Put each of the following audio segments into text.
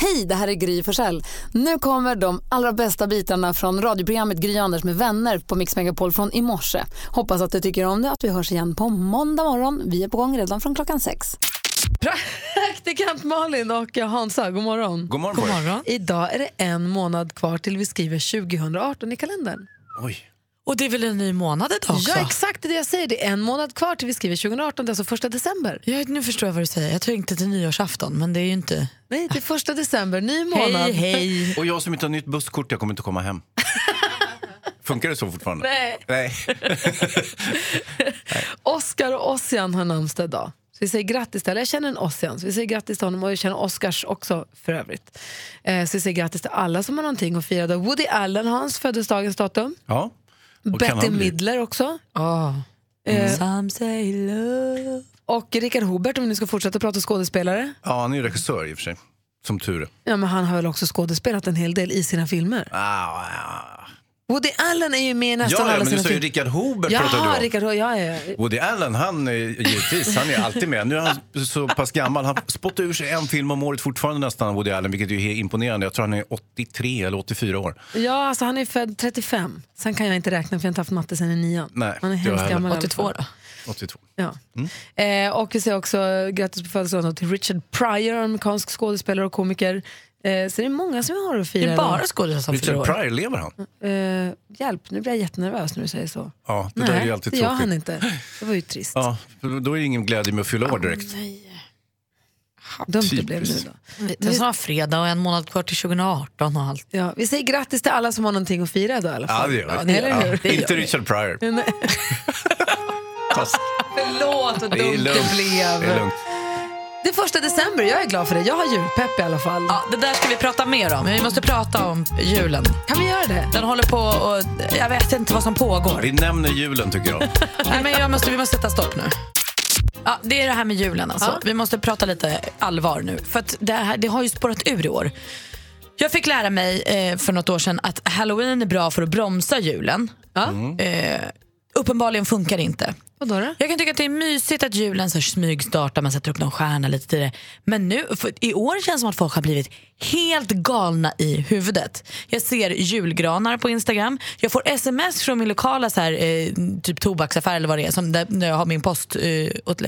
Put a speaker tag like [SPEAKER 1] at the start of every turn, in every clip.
[SPEAKER 1] Hej, det här är Gry Forssell. Nu kommer de allra bästa bitarna från radioprogrammet Gry Anders med vänner på Mix Megapol från i morse. Hoppas att du tycker om det att vi hörs igen på måndag morgon. Vi är på gång redan från klockan sex. Praktikant Malin och Hansa, god morgon.
[SPEAKER 2] God morgon, God morgon.
[SPEAKER 1] Idag är det en månad kvar till vi skriver 2018 i kalendern.
[SPEAKER 2] Oj.
[SPEAKER 3] Och det är väl en ny månad idag också?
[SPEAKER 1] Ja, exakt det jag säger. Det är en månad kvar till vi skriver 2018, det är alltså första december.
[SPEAKER 3] Ja, nu förstår jag vad du säger. Jag tänkte till nyårsafton, men det är ju inte...
[SPEAKER 1] Nej, det är första december, ny
[SPEAKER 3] Hej,
[SPEAKER 1] månad.
[SPEAKER 3] hej!
[SPEAKER 2] Och jag som inte har nytt busskort, jag kommer inte komma hem. Funkar det så fortfarande?
[SPEAKER 1] Nej.
[SPEAKER 2] Nej.
[SPEAKER 1] Oskar och Ossian har namnsdag idag. Så vi säger grattis till alla. Jag känner en Ossian, så vi säger grattis till honom och jag känner Oscars också för övrigt. Eh, så vi säger grattis till alla som har någonting att fira. idag. Woody Allen har hans födelsedagens datum.
[SPEAKER 2] Ja. Och kan
[SPEAKER 1] Betty
[SPEAKER 2] han bli- Mm.
[SPEAKER 1] Midler också. Eh,
[SPEAKER 3] Some say love.
[SPEAKER 1] Och Richard Hobert om vi nu ska fortsätta prata skådespelare.
[SPEAKER 2] Ja, han är ju regissör i och för sig. Som tur är.
[SPEAKER 1] Ja, men han har väl också skådespelat en hel del i sina filmer.
[SPEAKER 2] Ah, ah.
[SPEAKER 1] Woody Allen är ju med i nästan
[SPEAKER 2] Ja, ja,
[SPEAKER 1] alla
[SPEAKER 2] men du
[SPEAKER 1] sina
[SPEAKER 2] sa ju
[SPEAKER 1] filmer.
[SPEAKER 2] Richard Hobert pratade du
[SPEAKER 1] Ja,
[SPEAKER 2] om.
[SPEAKER 1] Richard Ho- ja, ja, ja.
[SPEAKER 2] Woody Allen, han är givetvis, han är alltid med. Nu är han så pass gammal. Han spottar ur sig en film om året fortfarande nästan, Woody Allen, vilket ju är imponerande. Jag tror han är 83 eller 84 år.
[SPEAKER 1] ja alltså, han är född 35. Sen kan jag inte räkna för jag har inte haft matte sen i nian.
[SPEAKER 2] Nej,
[SPEAKER 1] han är
[SPEAKER 2] det har jag
[SPEAKER 1] hemskt
[SPEAKER 2] heller.
[SPEAKER 1] gammal i alla
[SPEAKER 3] 82
[SPEAKER 1] fall.
[SPEAKER 3] då?
[SPEAKER 2] 82.
[SPEAKER 1] Ja.
[SPEAKER 2] Mm.
[SPEAKER 1] Eh, och vi säger också eh, grattis på födelsedagen till Richard Pryor, amerikansk skådespelare och komiker. Eh, så det är många som jag har att fira.
[SPEAKER 3] Det är bara
[SPEAKER 1] idag.
[SPEAKER 3] skådisar som fyller
[SPEAKER 2] Richard
[SPEAKER 3] år.
[SPEAKER 2] Pryor, lever han?
[SPEAKER 1] eh, hjälp, nu blir jag jättenervös när du säger så.
[SPEAKER 2] Ja, det där är ju alltid
[SPEAKER 1] det gör han
[SPEAKER 2] tråkigt.
[SPEAKER 1] inte. Det var ju trist.
[SPEAKER 2] Ja, då är det ingen glädje med att fylla år direkt.
[SPEAKER 1] Dumt det
[SPEAKER 2] typiskt.
[SPEAKER 1] blev nu då.
[SPEAKER 3] Det är snart fredag och en månad kvar till 2018 och allt.
[SPEAKER 1] Ja, vi säger grattis till alla som har någonting att fira idag i alla
[SPEAKER 2] Ja,
[SPEAKER 1] fall.
[SPEAKER 2] det gör vi.
[SPEAKER 1] Ja, eller hur?
[SPEAKER 2] Ja, inte Richard Pryor.
[SPEAKER 1] Nej.
[SPEAKER 2] Fast
[SPEAKER 1] Förlåt vad dumt
[SPEAKER 2] det är
[SPEAKER 1] det,
[SPEAKER 2] lugnt.
[SPEAKER 1] blev.
[SPEAKER 2] Det är lugnt.
[SPEAKER 1] Det är första december, jag är glad för det. Jag har julpepp i alla fall.
[SPEAKER 3] Ja, det där ska vi prata mer om. Vi måste prata om julen.
[SPEAKER 1] Kan vi göra det?
[SPEAKER 3] Den håller på och... Jag vet inte vad som pågår.
[SPEAKER 2] Vi nämner julen tycker jag.
[SPEAKER 3] Nej, men jag måste, vi måste sätta stopp nu. Ja, det är det här med julen. Alltså. Vi måste prata lite allvar nu. För att det, här, det har ju spårat ur i år. Jag fick lära mig eh, för något år sedan att halloween är bra för att bromsa julen. Ja.
[SPEAKER 2] Mm.
[SPEAKER 3] Eh, uppenbarligen funkar det inte.
[SPEAKER 1] Vadå då?
[SPEAKER 3] Jag kan tycka att det är mysigt att julen så här smygstartar, man sätter upp någon stjärna lite tidigare. Men nu, för i år känns det som att folk har blivit helt galna i huvudet. Jag ser julgranar på Instagram. Jag får sms från min lokala så här, eh, typ tobaksaffär eller vad det är, som där, där jag har min post. Eh, åt-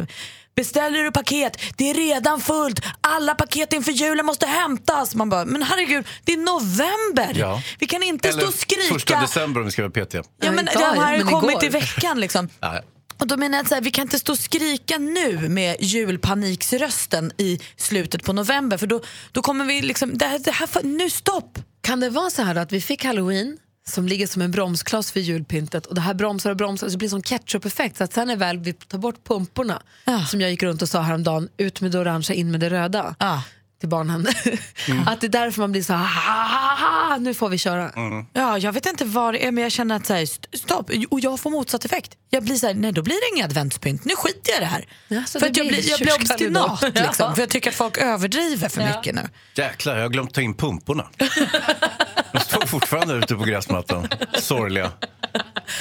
[SPEAKER 3] Beställer du paket? Det är redan fullt. Alla paket inför julen måste hämtas. Man bara, men herregud, det är november.
[SPEAKER 2] Ja.
[SPEAKER 3] Vi kan inte stå och skrika.
[SPEAKER 2] första december om vi ska vara petiga.
[SPEAKER 3] Ja, men
[SPEAKER 1] Nej,
[SPEAKER 3] det
[SPEAKER 1] idag,
[SPEAKER 3] här har ju
[SPEAKER 1] men igår.
[SPEAKER 3] kommit i veckan liksom.
[SPEAKER 2] Ja, ja.
[SPEAKER 3] Och då menar jag att så här, vi kan inte stå och skrika nu med julpaniksrösten i slutet på november för då, då kommer vi liksom, det här, det här får- nu stopp!
[SPEAKER 1] Kan det vara så här då att vi fick halloween som ligger som en bromskloss för julpyntet och det här bromsar och bromsar och så blir det som ketchup-effekt så att sen när väl vi tar bort pumporna
[SPEAKER 3] Ja.
[SPEAKER 1] som jag gick runt och sa häromdagen, ut med det orangea, in med det röda
[SPEAKER 3] Ja. Mm.
[SPEAKER 1] till barnen. att det är därför man blir så här, "Ha, ha, ha, ha, nu får vi köra.
[SPEAKER 2] Mm.
[SPEAKER 3] Ja, jag vet inte vad det är men jag känner att så här, st- stopp, och jag får motsatt effekt. Jag blir så här, nej då blir det inga adventspynt, nu skiter jag i det här.
[SPEAKER 1] Ja, så
[SPEAKER 3] för
[SPEAKER 1] det
[SPEAKER 3] att jag
[SPEAKER 1] blir
[SPEAKER 3] blir, jag blir
[SPEAKER 1] kyrkan idag.
[SPEAKER 3] obstinat liksom,
[SPEAKER 1] Ja.
[SPEAKER 3] för jag tycker att folk överdriver för mycket nu.
[SPEAKER 2] Jäklar, jag har glömt ta in pumporna. De står fortfarande ute på gräsmattan. Sorgliga.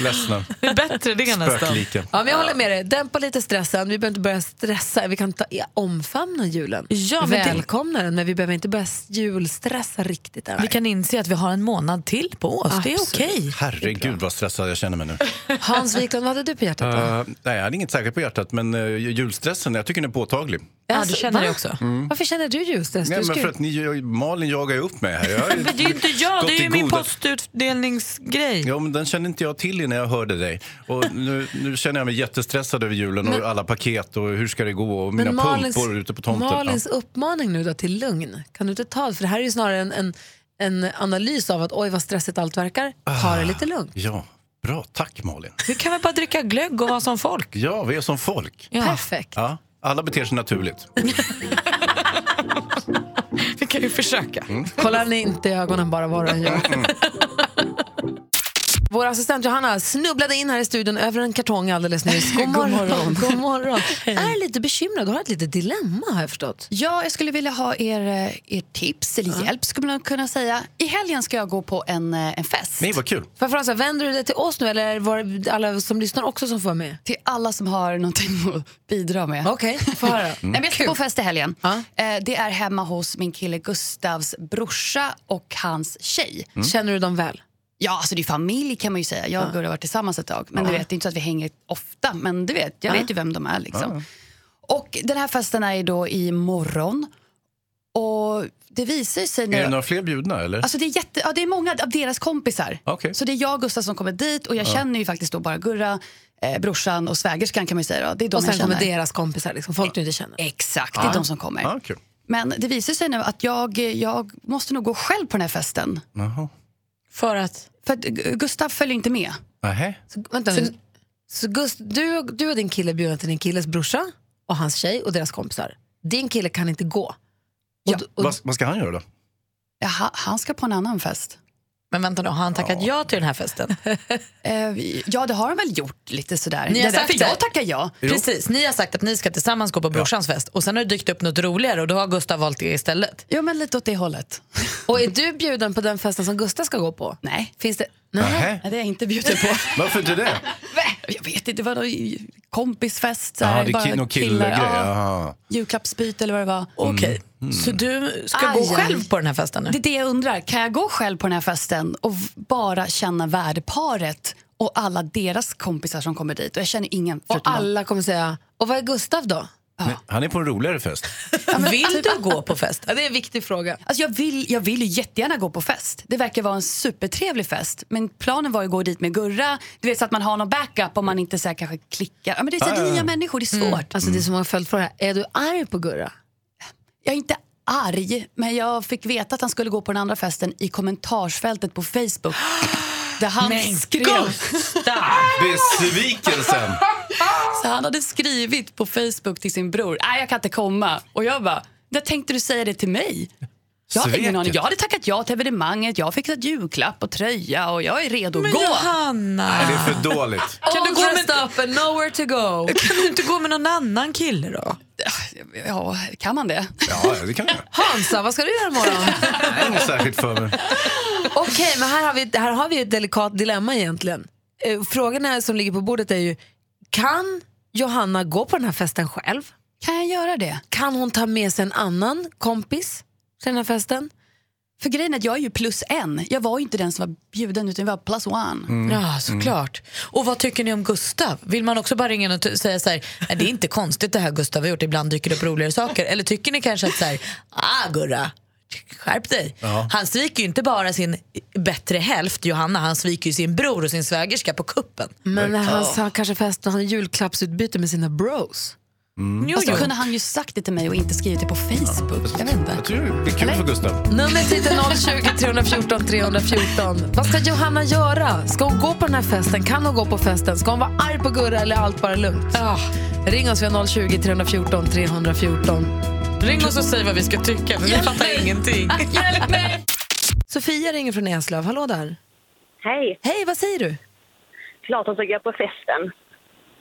[SPEAKER 2] Ledsna.
[SPEAKER 3] Det är bättre det
[SPEAKER 2] Spöklika.
[SPEAKER 1] Ja, men jag håller med dig. Dämpa lite stressen. Vi behöver inte börja stressa. Vi kan ta, omfamna julen.
[SPEAKER 3] Ja, men det-
[SPEAKER 1] Välkomna den, men vi behöver inte börja s- julstressa riktigt än.
[SPEAKER 3] Vi kan inse att vi har en månad till på oss, det är
[SPEAKER 1] Absolut.
[SPEAKER 3] okej.
[SPEAKER 2] Herregud vad stressad jag känner mig nu.
[SPEAKER 1] Hans Wiklund, vad hade du på hjärtat? då?
[SPEAKER 2] Eh, nej, jag hade inget särskilt på hjärtat, men eh, julstressen, jag tycker den är påtaglig.
[SPEAKER 3] Ja,
[SPEAKER 1] Alltså,
[SPEAKER 3] du känner
[SPEAKER 1] va?
[SPEAKER 3] det också.
[SPEAKER 1] Varför känner du julstress?
[SPEAKER 2] Nej,
[SPEAKER 1] du
[SPEAKER 2] men
[SPEAKER 1] ska ju-
[SPEAKER 2] för att ni, Malin jagar ju upp mig här. Jag har ju
[SPEAKER 3] Men det är ju inte jag,
[SPEAKER 2] gått
[SPEAKER 3] det är
[SPEAKER 2] i
[SPEAKER 3] ju min
[SPEAKER 2] goda-
[SPEAKER 3] postutdelningsgrej.
[SPEAKER 2] Ja, men den kände inte jag till innan jag hörde dig. Och nu, nu känner jag mig jättestressad över julen och alla paket och hur ska det gå och mina pumpor ute på tomten.
[SPEAKER 1] Malins uppmaning nu då till lugn, kan du inte ta För det här är ju snarare en, en, en analys av att oj vad stressigt allt verkar. Ta det lite lugnt.
[SPEAKER 2] ja. ja, bra. Tack Malin.
[SPEAKER 3] Vi kan väl bara dricka glögg och vara som folk.
[SPEAKER 2] Ja, vi är som folk.
[SPEAKER 3] Ja.
[SPEAKER 1] Perfekt.
[SPEAKER 2] Ja, alla beter sig naturligt.
[SPEAKER 3] Vi Mm. kan ju försöka.
[SPEAKER 1] Kolla ni inte i ögonen bara vad den gör. Vår assistent Johanna snubblade in här i studion över en kartong alldeles nyss. God
[SPEAKER 3] God
[SPEAKER 1] morgon.
[SPEAKER 3] morgon.
[SPEAKER 1] God morgon. är lite bekymrad, du har ett litet dilemma har jag förstått.
[SPEAKER 4] Ja, jag skulle vilja ha er, eh, er tips eller hjälp skulle man kunna säga. I helgen ska jag gå på en, eh, en fest.
[SPEAKER 2] Nej, vad kul.
[SPEAKER 1] För Fransa, vänder du dig till oss nu eller var alla som lyssnar också som får vara med?
[SPEAKER 4] Till alla som har någonting att bidra med.
[SPEAKER 1] Okej, få höra.
[SPEAKER 2] Mm.
[SPEAKER 4] Nej, men jag ska på fest i helgen.
[SPEAKER 1] Ja.
[SPEAKER 4] Eh, Det är hemma hos min kille Gustavs brorsa och hans tjej.
[SPEAKER 1] Känner du dem väl?
[SPEAKER 4] Ja, alltså det är familj kan man ju säga. Jag och Gurra har varit tillsammans ett tag. Men du vet, det är inte så att vi hänger ofta. Men du vet, jag vet ju vem de är liksom. Och den här festen är ju då imorgon. Och det visar ju sig när...
[SPEAKER 2] Är det några fler bjudna eller?
[SPEAKER 4] Alltså det, är jätte, ja, det är många av deras kompisar.
[SPEAKER 2] Okej.
[SPEAKER 4] Så det är jag och Gustav som kommer dit och jag känner ju faktiskt då bara Gurra, eh, brorsan och svägerskan kan man ju säga. Då. Det är de
[SPEAKER 1] Och sen
[SPEAKER 4] jag
[SPEAKER 1] kommer
[SPEAKER 4] känner.
[SPEAKER 1] deras kompisar, liksom, folk du inte känner.
[SPEAKER 4] Exakt, det är de som kommer.
[SPEAKER 2] Ja, kul.
[SPEAKER 4] Men det visar sig nu att jag, jag måste nog gå själv på den här festen.
[SPEAKER 2] Jaha.
[SPEAKER 3] För att...
[SPEAKER 4] För att Gu- Gustav följer inte med.
[SPEAKER 2] Nähä.
[SPEAKER 1] Så, vänta nu. Så Gust, du, och- du och din kille bjuder till din killes brorsa och hans tjej och deras kompisar. Din kille kan inte gå. Och, d- och,
[SPEAKER 2] Vad, vad ska han göra då?
[SPEAKER 4] Ja, ha- han ska på en annan fest.
[SPEAKER 3] Men vänta nu, har han tackat ja till den här festen?
[SPEAKER 4] Eh, ja, det har han väl gjort lite sådär.
[SPEAKER 3] Ni
[SPEAKER 4] det
[SPEAKER 3] har
[SPEAKER 4] är
[SPEAKER 3] sagt
[SPEAKER 4] därför
[SPEAKER 3] det.
[SPEAKER 4] jag tackar ja.
[SPEAKER 3] Precis, ni har sagt att ni ska tillsammans gå på brorsans fest och sen har det dykt upp något roligare och då har Gustav valt det istället.
[SPEAKER 4] Ja, men lite åt det hållet.
[SPEAKER 1] och är du bjuden på den festen som Gustav ska gå på?
[SPEAKER 4] Nej,
[SPEAKER 1] Finns det? Nej.
[SPEAKER 2] Nähä.
[SPEAKER 4] det är jag inte bjuden på.
[SPEAKER 2] Varför inte det?
[SPEAKER 4] jag vet inte, det var någon kompisfest. så
[SPEAKER 2] Jaha,
[SPEAKER 4] här,
[SPEAKER 2] det
[SPEAKER 4] bara
[SPEAKER 2] är någon
[SPEAKER 4] killar,
[SPEAKER 2] killegrej. Jaha.
[SPEAKER 4] julklappsbyte eller vad det var.
[SPEAKER 3] Okej, så du ska
[SPEAKER 4] Aj,
[SPEAKER 3] gå
[SPEAKER 4] aj.
[SPEAKER 3] själv på den här festen nu?
[SPEAKER 4] Det är det jag undrar. Kan jag gå själv på den här festen och v- bara känna värdeparet och alla deras kompisar som kommer dit? Och jag känner ingen
[SPEAKER 1] Och
[SPEAKER 4] förutom dem.
[SPEAKER 1] alla kommer säga, och vad är Gustav då?
[SPEAKER 2] Nej, Han är på en roligare fest.
[SPEAKER 3] Vill du gå på fest?
[SPEAKER 1] Ja, det är en viktig fråga.
[SPEAKER 4] typ Alltså jag, vill, jag vill ju jättegärna gå på fest. Det verkar vara en supertrevlig fest. Men planen var ju att gå dit med Gurra. Du vet så att man har någon backup om man inte så här kanske klickar. Ja, men det är så här, nya människor, det är svårt.
[SPEAKER 1] Alltså, det är så många följdfrågor här. Är du arg på Gurra?
[SPEAKER 4] Jag är inte arg, men jag fick veta att han skulle gå på den andra festen i kommentarsfältet på Facebook. Där han skrev...
[SPEAKER 2] Besvikelsen!
[SPEAKER 4] Så han hade skrivit på Facebook till sin bror, nej jag kan inte komma. Och jag bara, när tänkte du säga det till mig? Jag hade ingen
[SPEAKER 2] Sveket.
[SPEAKER 4] aning. Jag hade tackat ja till evenemanget, jag fick ett julklapp och tröja och jag är redo att
[SPEAKER 3] Men
[SPEAKER 4] gå.
[SPEAKER 2] Nej,
[SPEAKER 3] Johanna,
[SPEAKER 2] Det är för dåligt.
[SPEAKER 1] Kan du gå med up and nowhere to go?
[SPEAKER 3] kan du inte gå med någon annan kille då?
[SPEAKER 4] Ja, kan man det?
[SPEAKER 2] Ja, det kan jag göra.
[SPEAKER 1] Hansa, vad ska du göra imorgon?
[SPEAKER 2] Det är inget särskilt för mig.
[SPEAKER 1] Okej, men här har, vi, här har vi ett delikat dilemma egentligen. Eh, Frågan är, som ligger på bordet är ju, kan Johanna gå på den här festen själv?
[SPEAKER 4] Kan jag göra det?
[SPEAKER 1] Kan hon ta med sig en annan kompis till den här festen?
[SPEAKER 4] För grejen är att jag är ju plus en. Jag var ju inte den som var bjuden utan jag var plus one.
[SPEAKER 3] Ja, såklart. Och vad tycker ni om Gustav? Vill man också bara ringa in och t- säga så här, "Nej, det är inte konstigt det här Gustav har gjort, ibland dyker det upp roligare saker. Eller tycker ni kanske att så här, ah Gurra, skärp dig. Han sviker ju inte bara sin bättre hälft Johanna, han sviker ju sin bror och sin svägerska på kuppen.
[SPEAKER 1] Men när han sa kanske fest och han har julklappsutbyte med sina bros.
[SPEAKER 4] Fast
[SPEAKER 3] Alltså,
[SPEAKER 4] då kunde han ju sagt det till mig och inte skrivit det på Facebook. Jag vet inte.
[SPEAKER 2] Jag tror det blir kul för Gustav.
[SPEAKER 1] Numret hit är 020 314 314. Vad ska Johanna göra? Ska hon gå på den här festen? Kan hon gå på festen? Ska hon vara arg på Gurra eller är allt bara lugnt?
[SPEAKER 3] Ah.
[SPEAKER 1] Ring oss vid 020 314 314.
[SPEAKER 3] Ring oss och säg vad vi ska tycka, för vi fattar ingenting.
[SPEAKER 1] Sofia ringer från Eslöv. Hallå där.
[SPEAKER 5] Hej!
[SPEAKER 1] Hej, vad säger du?
[SPEAKER 5] Klart hon ska gå på festen.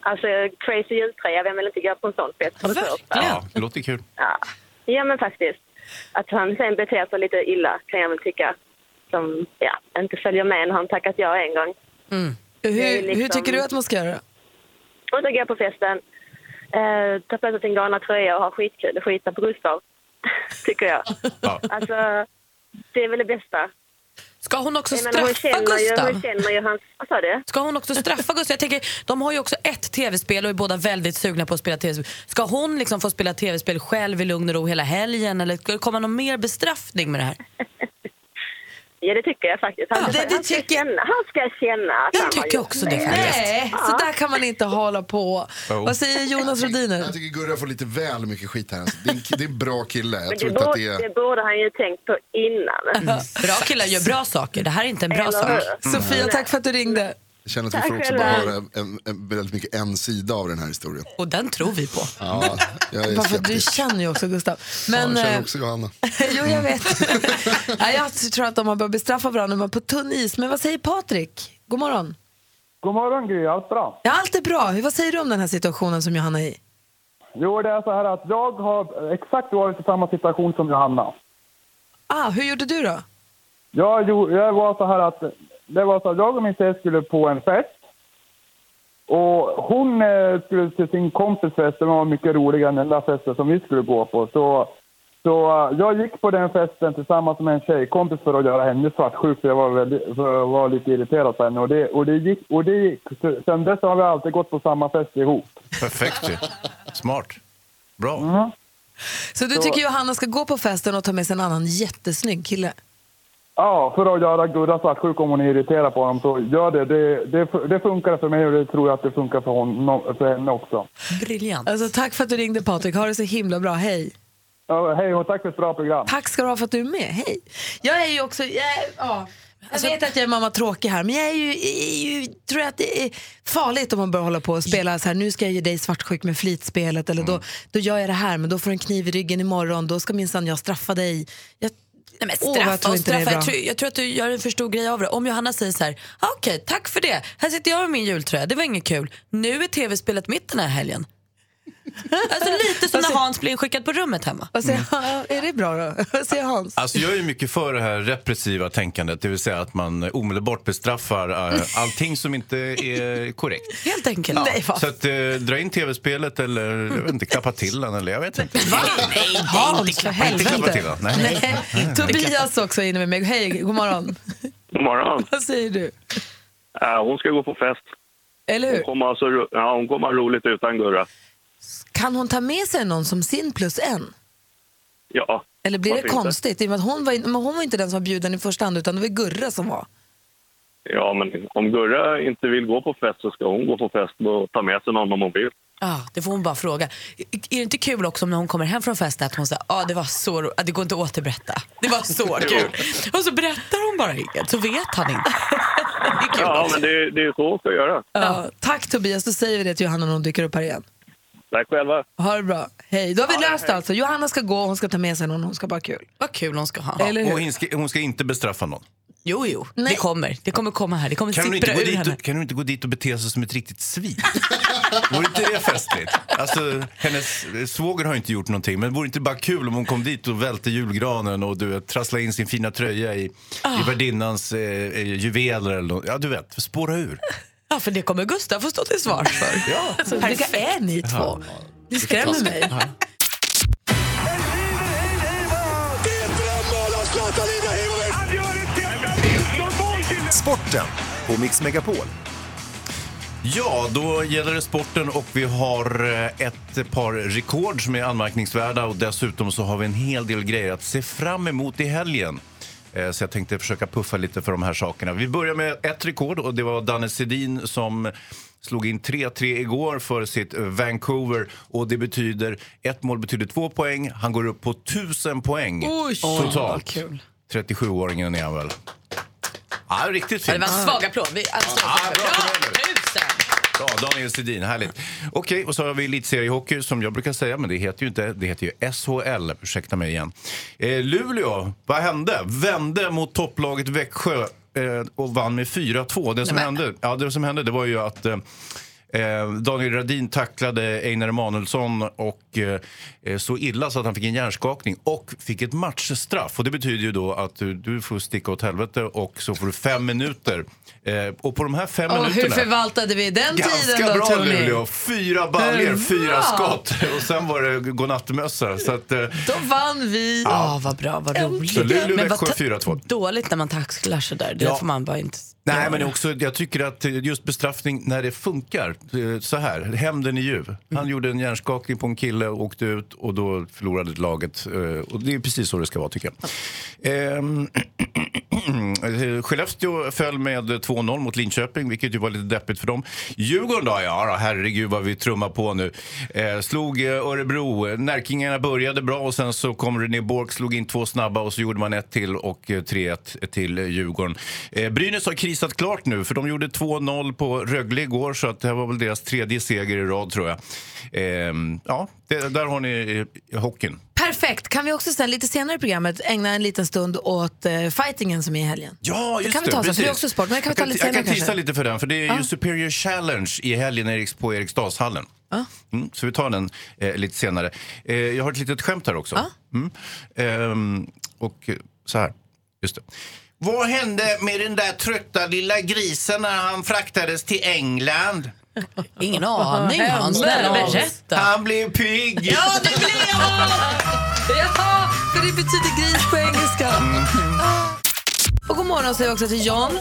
[SPEAKER 5] Alltså, crazy jultröja, vem vill inte gå på en sån fest? För det första.
[SPEAKER 2] Ja, det låter kul.
[SPEAKER 5] Ja. ja, men faktiskt. Att han sen beter sig lite illa kan jag väl tycka. Som ja, inte följer med när han tackat ja en gång. är
[SPEAKER 1] Hur,
[SPEAKER 5] liksom-
[SPEAKER 1] hur tycker du att man ska göra?
[SPEAKER 5] Och så går jag på festen, eh, tar på sig sin galna tröja och har skitkul och skitar på Gustav. Tycker jag.
[SPEAKER 2] Ja.
[SPEAKER 5] Alltså, det är väl det bästa.
[SPEAKER 3] Ska hon också
[SPEAKER 5] Jag menar, hon
[SPEAKER 3] straffa
[SPEAKER 5] känner ju, hon
[SPEAKER 3] Gustav?
[SPEAKER 5] känner ju hans... Vad sa du?
[SPEAKER 3] Ska hon också straffa Gustav? Jag tänker, de har ju också ett tv-spel och är båda väldigt sugna på att spela tv-spel. Ska hon liksom få spela tv-spel själv i lugn och ro hela helgen eller ska det komma någon mer bestraffning med det här?
[SPEAKER 5] Ja, det tycker jag faktiskt. Han,
[SPEAKER 3] Ja, det- det
[SPEAKER 5] han, ska,
[SPEAKER 3] tycker-
[SPEAKER 5] känna, han ska känna att han
[SPEAKER 3] Jag
[SPEAKER 5] har
[SPEAKER 3] tycker
[SPEAKER 5] gjort
[SPEAKER 3] också det faktiskt.
[SPEAKER 1] Nej, så där kan man inte hålla på.
[SPEAKER 2] Jo.
[SPEAKER 1] Vad säger Jonas Rodiner?
[SPEAKER 6] Jag tycker Gurra får lite väl mycket skit här. Alltså, Det är en, det är en bra kille.
[SPEAKER 5] Men
[SPEAKER 6] Jag tror
[SPEAKER 5] det,
[SPEAKER 6] inte att det
[SPEAKER 5] borde,
[SPEAKER 6] är...
[SPEAKER 5] det borde han ju tänkt på innan.
[SPEAKER 3] Bra killar gör bra saker. Det här är inte en bra
[SPEAKER 5] Eller
[SPEAKER 3] sak.
[SPEAKER 5] hur?
[SPEAKER 1] Sofia,
[SPEAKER 6] Mm.
[SPEAKER 1] tack för att du ringde.
[SPEAKER 6] Jag känner att vi får
[SPEAKER 5] Tack
[SPEAKER 6] också bara
[SPEAKER 5] själva.
[SPEAKER 6] höra en, en, väldigt mycket en sida av den här historien.
[SPEAKER 3] Och den tror vi på.
[SPEAKER 6] Ja, jag är
[SPEAKER 1] Bara för att du
[SPEAKER 6] skeptisk.
[SPEAKER 1] känner ju också Gustav.
[SPEAKER 6] Ja,
[SPEAKER 1] Men,
[SPEAKER 6] jag känner
[SPEAKER 1] eh,
[SPEAKER 6] också Johanna.
[SPEAKER 1] jo, jag vet. Nej, jag tror att de har börjat bestraffa varandra när man är på tunn is. Men vad säger Patrik? God morgon.
[SPEAKER 7] God morgon Gry, allt bra?
[SPEAKER 1] Ja, allt är bra. Hur- Vad säger du om den här situationen som Johanna är i?
[SPEAKER 7] Jo, det är så här att jag har exakt varit i samma situation som Johanna.
[SPEAKER 1] Ah, hur gjorde du då?
[SPEAKER 7] Jag, gjo- jag var så här att det var så att jag och min tjej skulle på en fest. Och hon eh, skulle till sin kompis fest, den var mycket roligare än den där festen som vi skulle gå på. Så, så eh, jag gick på den festen tillsammans med en tjejkompis för att göra henne svartsjuk, för jag var, väldigt, för jag var lite irriterad på henne. Och det, och det gick. Och det gick. Så, sen dess har vi alltid gått på samma fest ihop.
[SPEAKER 2] Perfekt ju. Smart. Bra.
[SPEAKER 1] Så du
[SPEAKER 7] Så-
[SPEAKER 1] tycker Johanna ska gå på festen och ta med sig en annan jättesnygg kille?
[SPEAKER 7] Ja, för att göra Gurra svartsjuk om hon är irriterad på honom så gör det. Det, det, det funkar för mig och det tror jag att det funkar för, honom, för henne också.
[SPEAKER 1] Briljant. Alltså, tack för att du ringde Patrik. Ha det så himla bra. Hej.
[SPEAKER 7] Ja, hej och tack för ett bra program.
[SPEAKER 1] Tack ska du ha för att du är med. Hej. Jag är ju också... Jag, är- ja. jag
[SPEAKER 3] Alltså-
[SPEAKER 1] vet att jag är mamma tråkig här, men jag är ju, är ju, tror jag att det är farligt om man börjar hålla på och spela så här, nu ska jag ge dig svartsjuk med flitspelet, eller
[SPEAKER 3] Mm.
[SPEAKER 1] då, då gör jag det här, men då får du en kniv i ryggen imorgon, då ska minsann jag straffa dig. Jag,
[SPEAKER 3] Nej, men
[SPEAKER 1] Åh,
[SPEAKER 3] straffa
[SPEAKER 1] vad jag tror
[SPEAKER 3] och
[SPEAKER 1] inte det är
[SPEAKER 3] straffa. Jag
[SPEAKER 1] bra.
[SPEAKER 3] tror, jag tror att du gör en för stor grej av det. Om Johanna säger så här, "Ah, okej, tack för det. Här sitter jag med min jultröja, det var inget kul. Nu är tv-spelet mitt den här helgen. alltså lite som när Hans blir inskickad på rummet hemma.
[SPEAKER 1] Vad säger,
[SPEAKER 3] Mm.
[SPEAKER 1] är det bra då? Vad säger Hans?
[SPEAKER 2] Alltså jag är ju mycket för det här repressiva tänkandet, det vill säga att man eh, omedelbart bestraffar eh, allting som inte är korrekt.
[SPEAKER 3] Helt enkelt.
[SPEAKER 2] Ja,
[SPEAKER 3] Nej, vad
[SPEAKER 2] så att, eh, dra in tv-spelet eller jag vet inte, klappa till den eller jag vet inte.
[SPEAKER 1] Hans, för
[SPEAKER 2] Inte klappa till den. Nej.
[SPEAKER 1] Nej. Tobias också är inne med mig. Hej, god morgon.
[SPEAKER 8] God morgon.
[SPEAKER 1] Vad säger du?
[SPEAKER 8] Eh, hon ska gå på fest.
[SPEAKER 1] Eller hur?
[SPEAKER 8] Hon kommer, alltså, ro- ja, hon kommer ha roligt utan Gurra.
[SPEAKER 1] Kan hon ta med sig någon som sin plus en?
[SPEAKER 8] Ja.
[SPEAKER 1] Eller blir
[SPEAKER 8] varför
[SPEAKER 1] det
[SPEAKER 8] inte?
[SPEAKER 1] konstigt? I och med att hon, var, in- men hon var inte den som var bjuden i första hand, utan det var Gurra som var.
[SPEAKER 8] Ja, men om Gurra inte vill gå på fest så ska hon gå på fest och ta med sig någon om hon vill.
[SPEAKER 3] Ja, det får hon bara fråga. I- Är det inte kul också om när hon kommer hem från festen att hon säger ah, det var så ro- ah, det går inte att återberätta. Det var så kul. Och så berättar hon bara inget, så vet han inte.
[SPEAKER 8] Ja, men det, det är så hon ska göra.
[SPEAKER 1] Ja, tack Tobias, då säger vi det till Johanna när hon dyker upp här igen.
[SPEAKER 8] Tack själva.
[SPEAKER 1] Ha det bra. Hej, då har vi löst det alltså. Johanna ska gå, hon ska ta med sig någon, hon ska bara ha kul.
[SPEAKER 3] Vad kul hon ska ha.
[SPEAKER 2] Ja,
[SPEAKER 3] Eller
[SPEAKER 2] och
[SPEAKER 3] hur?
[SPEAKER 2] hon ska, hon ska inte bestraffa någon.
[SPEAKER 3] Jo, jo, det kommer. Det kommer komma här. Det kommer
[SPEAKER 2] Kan hon, inte
[SPEAKER 3] sippra
[SPEAKER 2] gå
[SPEAKER 3] ur
[SPEAKER 2] dit
[SPEAKER 3] henne.
[SPEAKER 2] och, kan hon inte gå dit och bete sig som ett riktigt svin? Vore inte det festligt? Alltså, hennes eh, svåger har inte gjort någonting, men vore inte bara kul om hon kom dit och välte julgranen och du vet, trasslade in sin fina tröja i,
[SPEAKER 3] Ah.
[SPEAKER 2] i värdinnans eh, eh, juveler eller nå- Ja, du vet, spåra ur.
[SPEAKER 3] Ja, för det kommer Gustav få stå till svars för.
[SPEAKER 2] Ja.
[SPEAKER 3] Alltså, vilka är ni två? Ni skrämmer mig.
[SPEAKER 9] Sporten på Mix Megapol.
[SPEAKER 2] Ja, då gäller det sporten och vi har eh, ett par rekord som är anmärkningsvärda och dessutom så har vi en hel del grejer att se fram emot i helgen. Eh, Så jag tänkte försöka puffa lite för de här sakerna. Vi börjar med ett rekord och det var Danne Sedin som slog in 3-3 igår för sitt Vancouver och det betyder, ett mål betyder två poäng, han går upp på 1000 poäng
[SPEAKER 3] Oj, vad
[SPEAKER 2] totalt.
[SPEAKER 3] kul.
[SPEAKER 2] 37-åringen är han väl. Ja, riktigt
[SPEAKER 3] Ja, det
[SPEAKER 2] fint.
[SPEAKER 3] var en svag applåd. Vi, alltså,
[SPEAKER 2] Ja, bra.
[SPEAKER 3] tusen!
[SPEAKER 2] Ja, Daniel Sedin, härligt. Okej, och så har vi elitseriehockey som jag brukar säga, men det heter ju inte, det heter ju SHL. Ursäkta mig igen. Eh, Luleå, vad hände? Vände mot topplaget Växjö eh, och vann med 4-2. Det som, hände, ja, det som hände det var ju att eh, eh, Daniel Radin tacklade Einar Emanuelsson och, eh, eh, så illa så att han fick en hjärnskakning och fick ett matchstraff. Och det betyder ju då att du, du får sticka åt helvete och så får du fem minuter. Eh, och på de här fem
[SPEAKER 1] Och hur
[SPEAKER 2] minuterna...
[SPEAKER 1] förvaltade vi den tiden
[SPEAKER 2] Ganska
[SPEAKER 1] då,
[SPEAKER 2] bra
[SPEAKER 1] Tony?
[SPEAKER 2] Luleå. Fyra baljor,
[SPEAKER 1] Hurra!
[SPEAKER 2] fyra skott och sen var det godnattmössa. Så att, eh,
[SPEAKER 1] Då vann vi.
[SPEAKER 2] Ja.
[SPEAKER 3] Ah, vad bra, vad roligt.
[SPEAKER 2] Så Luleå,
[SPEAKER 3] Men
[SPEAKER 2] Växjö
[SPEAKER 3] vad ta-
[SPEAKER 2] 4-2.
[SPEAKER 3] Dåligt när man tacklar sådär. Det
[SPEAKER 2] Ja.
[SPEAKER 3] får man bara inte...
[SPEAKER 2] Nej, men också, jag tycker att eh, just bestraffning när det funkar, eh, så här, hämnden är ljuv. Han
[SPEAKER 1] Mm.
[SPEAKER 2] gjorde en hjärnskakning på en kille och åkte ut och då förlorade laget. eh, Och det är precis så det ska vara tycker jag. Ehm, Eh, Skellefteå föll med 2-0 mot Linköping, vilket ju var lite deppigt för dem. Djurgården då? Ja, då, herregud vad vi trummar på nu. Eh, slog eh, Örebro. Närkingarna började bra och sen så kom René Bork, slog in två snabba och så gjorde man ett till och eh, 3-1 till eh, Djurgården. Eh, Brynäs har krisat klart nu, för de gjorde 2-0 på Rögle igår så att det här var väl deras tredje seger i rad tror jag. Ehm, ja, det, där har ni eh, hockeyn.
[SPEAKER 1] Per Perfekt. Kan vi också sen lite senare i programmet ägna en liten stund åt eh, fightingen som är i helgen?
[SPEAKER 2] Ja, just
[SPEAKER 1] det. kan vi ta sen,
[SPEAKER 2] precis.
[SPEAKER 1] för det är också sport. Men det kan vi ta
[SPEAKER 2] jag kan,
[SPEAKER 1] lite
[SPEAKER 2] jag
[SPEAKER 1] senare
[SPEAKER 2] kan tisa
[SPEAKER 1] kanske.
[SPEAKER 2] lite för den, för det är
[SPEAKER 1] Ja.
[SPEAKER 2] ju Superior Challenge i helgen i Eriks- på Eriksdalshallen.
[SPEAKER 1] Ja.
[SPEAKER 2] Mm, så vi tar den eh, lite senare. Eh, jag har ett litet skämt här också. Mm. Ehm, och eh, så här, just det. Vad hände med den där trötta lilla grisen när han fraktades till England?
[SPEAKER 3] Ingen aning, Hans. Snälla, berätta.
[SPEAKER 2] Han blev pigg!
[SPEAKER 3] Ja,
[SPEAKER 2] det blev
[SPEAKER 1] Ja, för det betyder gris på engelska. Och god morgon säger vi också till John.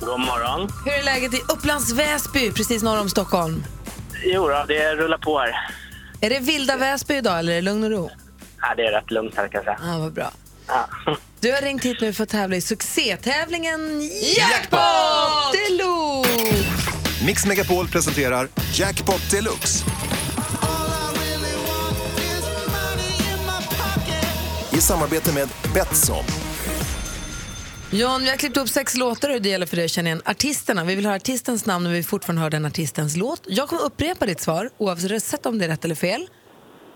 [SPEAKER 10] God morgon.
[SPEAKER 1] Hur är läget i Upplands Väsby, precis norr om Stockholm?
[SPEAKER 10] Jo, då, det rullar på här.
[SPEAKER 1] Är det vilda Väsby idag eller är det lugn och ro?
[SPEAKER 10] Ja, det är rätt lugnt här kan jag säga.
[SPEAKER 1] Ja, vad bra.
[SPEAKER 10] Ja.
[SPEAKER 1] Du har ringt hit nu för att tävla i succétävlingen Jackpot
[SPEAKER 11] Jackpot!
[SPEAKER 1] Deluxe!
[SPEAKER 11] Mix Megapol presenterar Jackpot Deluxe. I samarbete med Betsson.
[SPEAKER 1] John, vi har klippt upp sex låtar och det gäller för dig att känna igen artisterna. Vi vill höra artistens namn och vi vill fortfarande höra den artistens låt. Jag kommer upprepa ditt svar oavsett om det är rätt eller fel.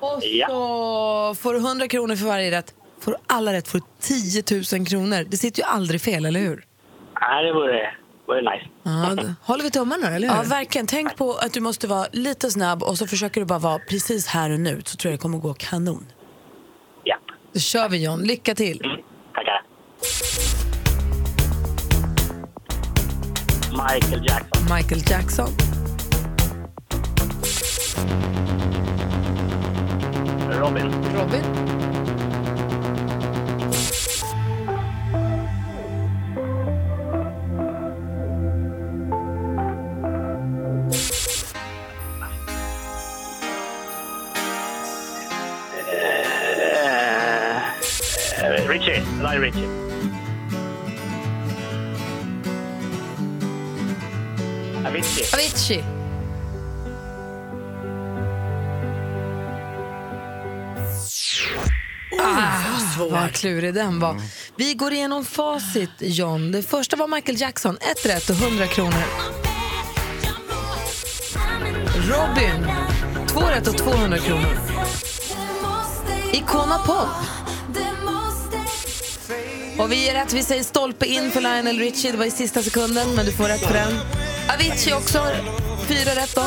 [SPEAKER 1] Och så får du 100 kronor för varje rätt. Får du alla rätt får du 10 000 kronor. Det sitter ju aldrig fel, eller hur?
[SPEAKER 10] Nej, det vore, vore nice.
[SPEAKER 1] Ja, då håller vi tummarna, eller hur?
[SPEAKER 3] Ja, verkligen. Tänk på att du måste vara lite snabb och så försöker du bara vara precis här och nu så tror jag det kommer gå kanon.
[SPEAKER 1] Då kör vi, John. Lycka till.
[SPEAKER 10] Mm. Tackar. Michael Jackson.
[SPEAKER 1] Michael Jackson.
[SPEAKER 10] Robin.
[SPEAKER 1] Robin.
[SPEAKER 10] Eh, eh, Richie. Eli Richie. Avicii.
[SPEAKER 1] Avicii. Ah, vad klurig den var. Vi går igenom facit, John. Det första var Michael Jackson. Ett rätt och 100 kronor. Robin. Två rätt och 200 kronor. Icona Pop. Och vi ger rätt. Vi säger stolpe in för Lionel Richie. Det var i sista sekunden, men du får rätt för den. Avicii också. Fyra rätt då.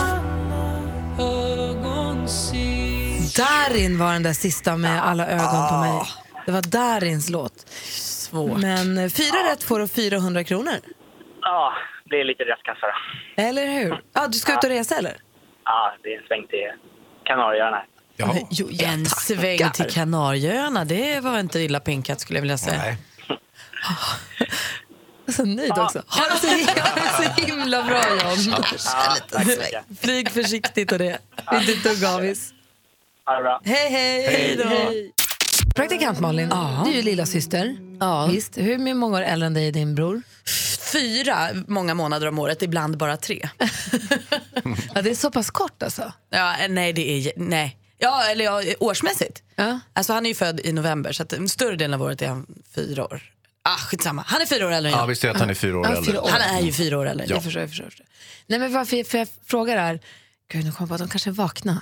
[SPEAKER 1] Darin var den där sista med alla ögon på mig. Det var Darins låt.
[SPEAKER 3] Svårt.
[SPEAKER 1] Men eh, fyra rätt får du 400 kronor.
[SPEAKER 10] Ja, det är lite rättkassa då.
[SPEAKER 1] Eller hur? Ah, du ska ut och resa eller?
[SPEAKER 10] Ja, det är en sväng till Kanarieöarna.
[SPEAKER 3] Jo, en sväng till Kanarieöarna, det var inte illa pinkat skulle jag vilja säga. Nej.
[SPEAKER 1] Så nöjd också. Ha det så, ha det så himla bra John. Flyg försiktigt och det. Det är inte ett dugg avis.
[SPEAKER 10] Ha det bra.
[SPEAKER 1] Hej, hej!
[SPEAKER 3] Hej då.
[SPEAKER 1] Praktikant Malin, du är ju lilla syster. Ja. Visst. Hur många år äldre än dig är din bror?
[SPEAKER 3] Fyra många månader om året, ibland bara tre.
[SPEAKER 1] ja, det är så pass kort alltså?
[SPEAKER 3] Ja, eh, nej, det är... Nej. Ja, eller ja, årsmässigt.
[SPEAKER 1] Ja.
[SPEAKER 3] Alltså han är ju född i november så att en större delen av året är han fyra år. Ah, skitsamma. Han är fyra år äldre än
[SPEAKER 2] Ja,
[SPEAKER 3] jag.
[SPEAKER 2] vi säger att han är fyra år
[SPEAKER 3] Ja,
[SPEAKER 2] äldre.
[SPEAKER 3] Han är ju fyra år äldre.
[SPEAKER 2] Ja.
[SPEAKER 3] Jag förstår, jag förstår. jag förstår.
[SPEAKER 1] Nej men varför för jag frågar är, gud nu kom jag på att de kanske är vakna.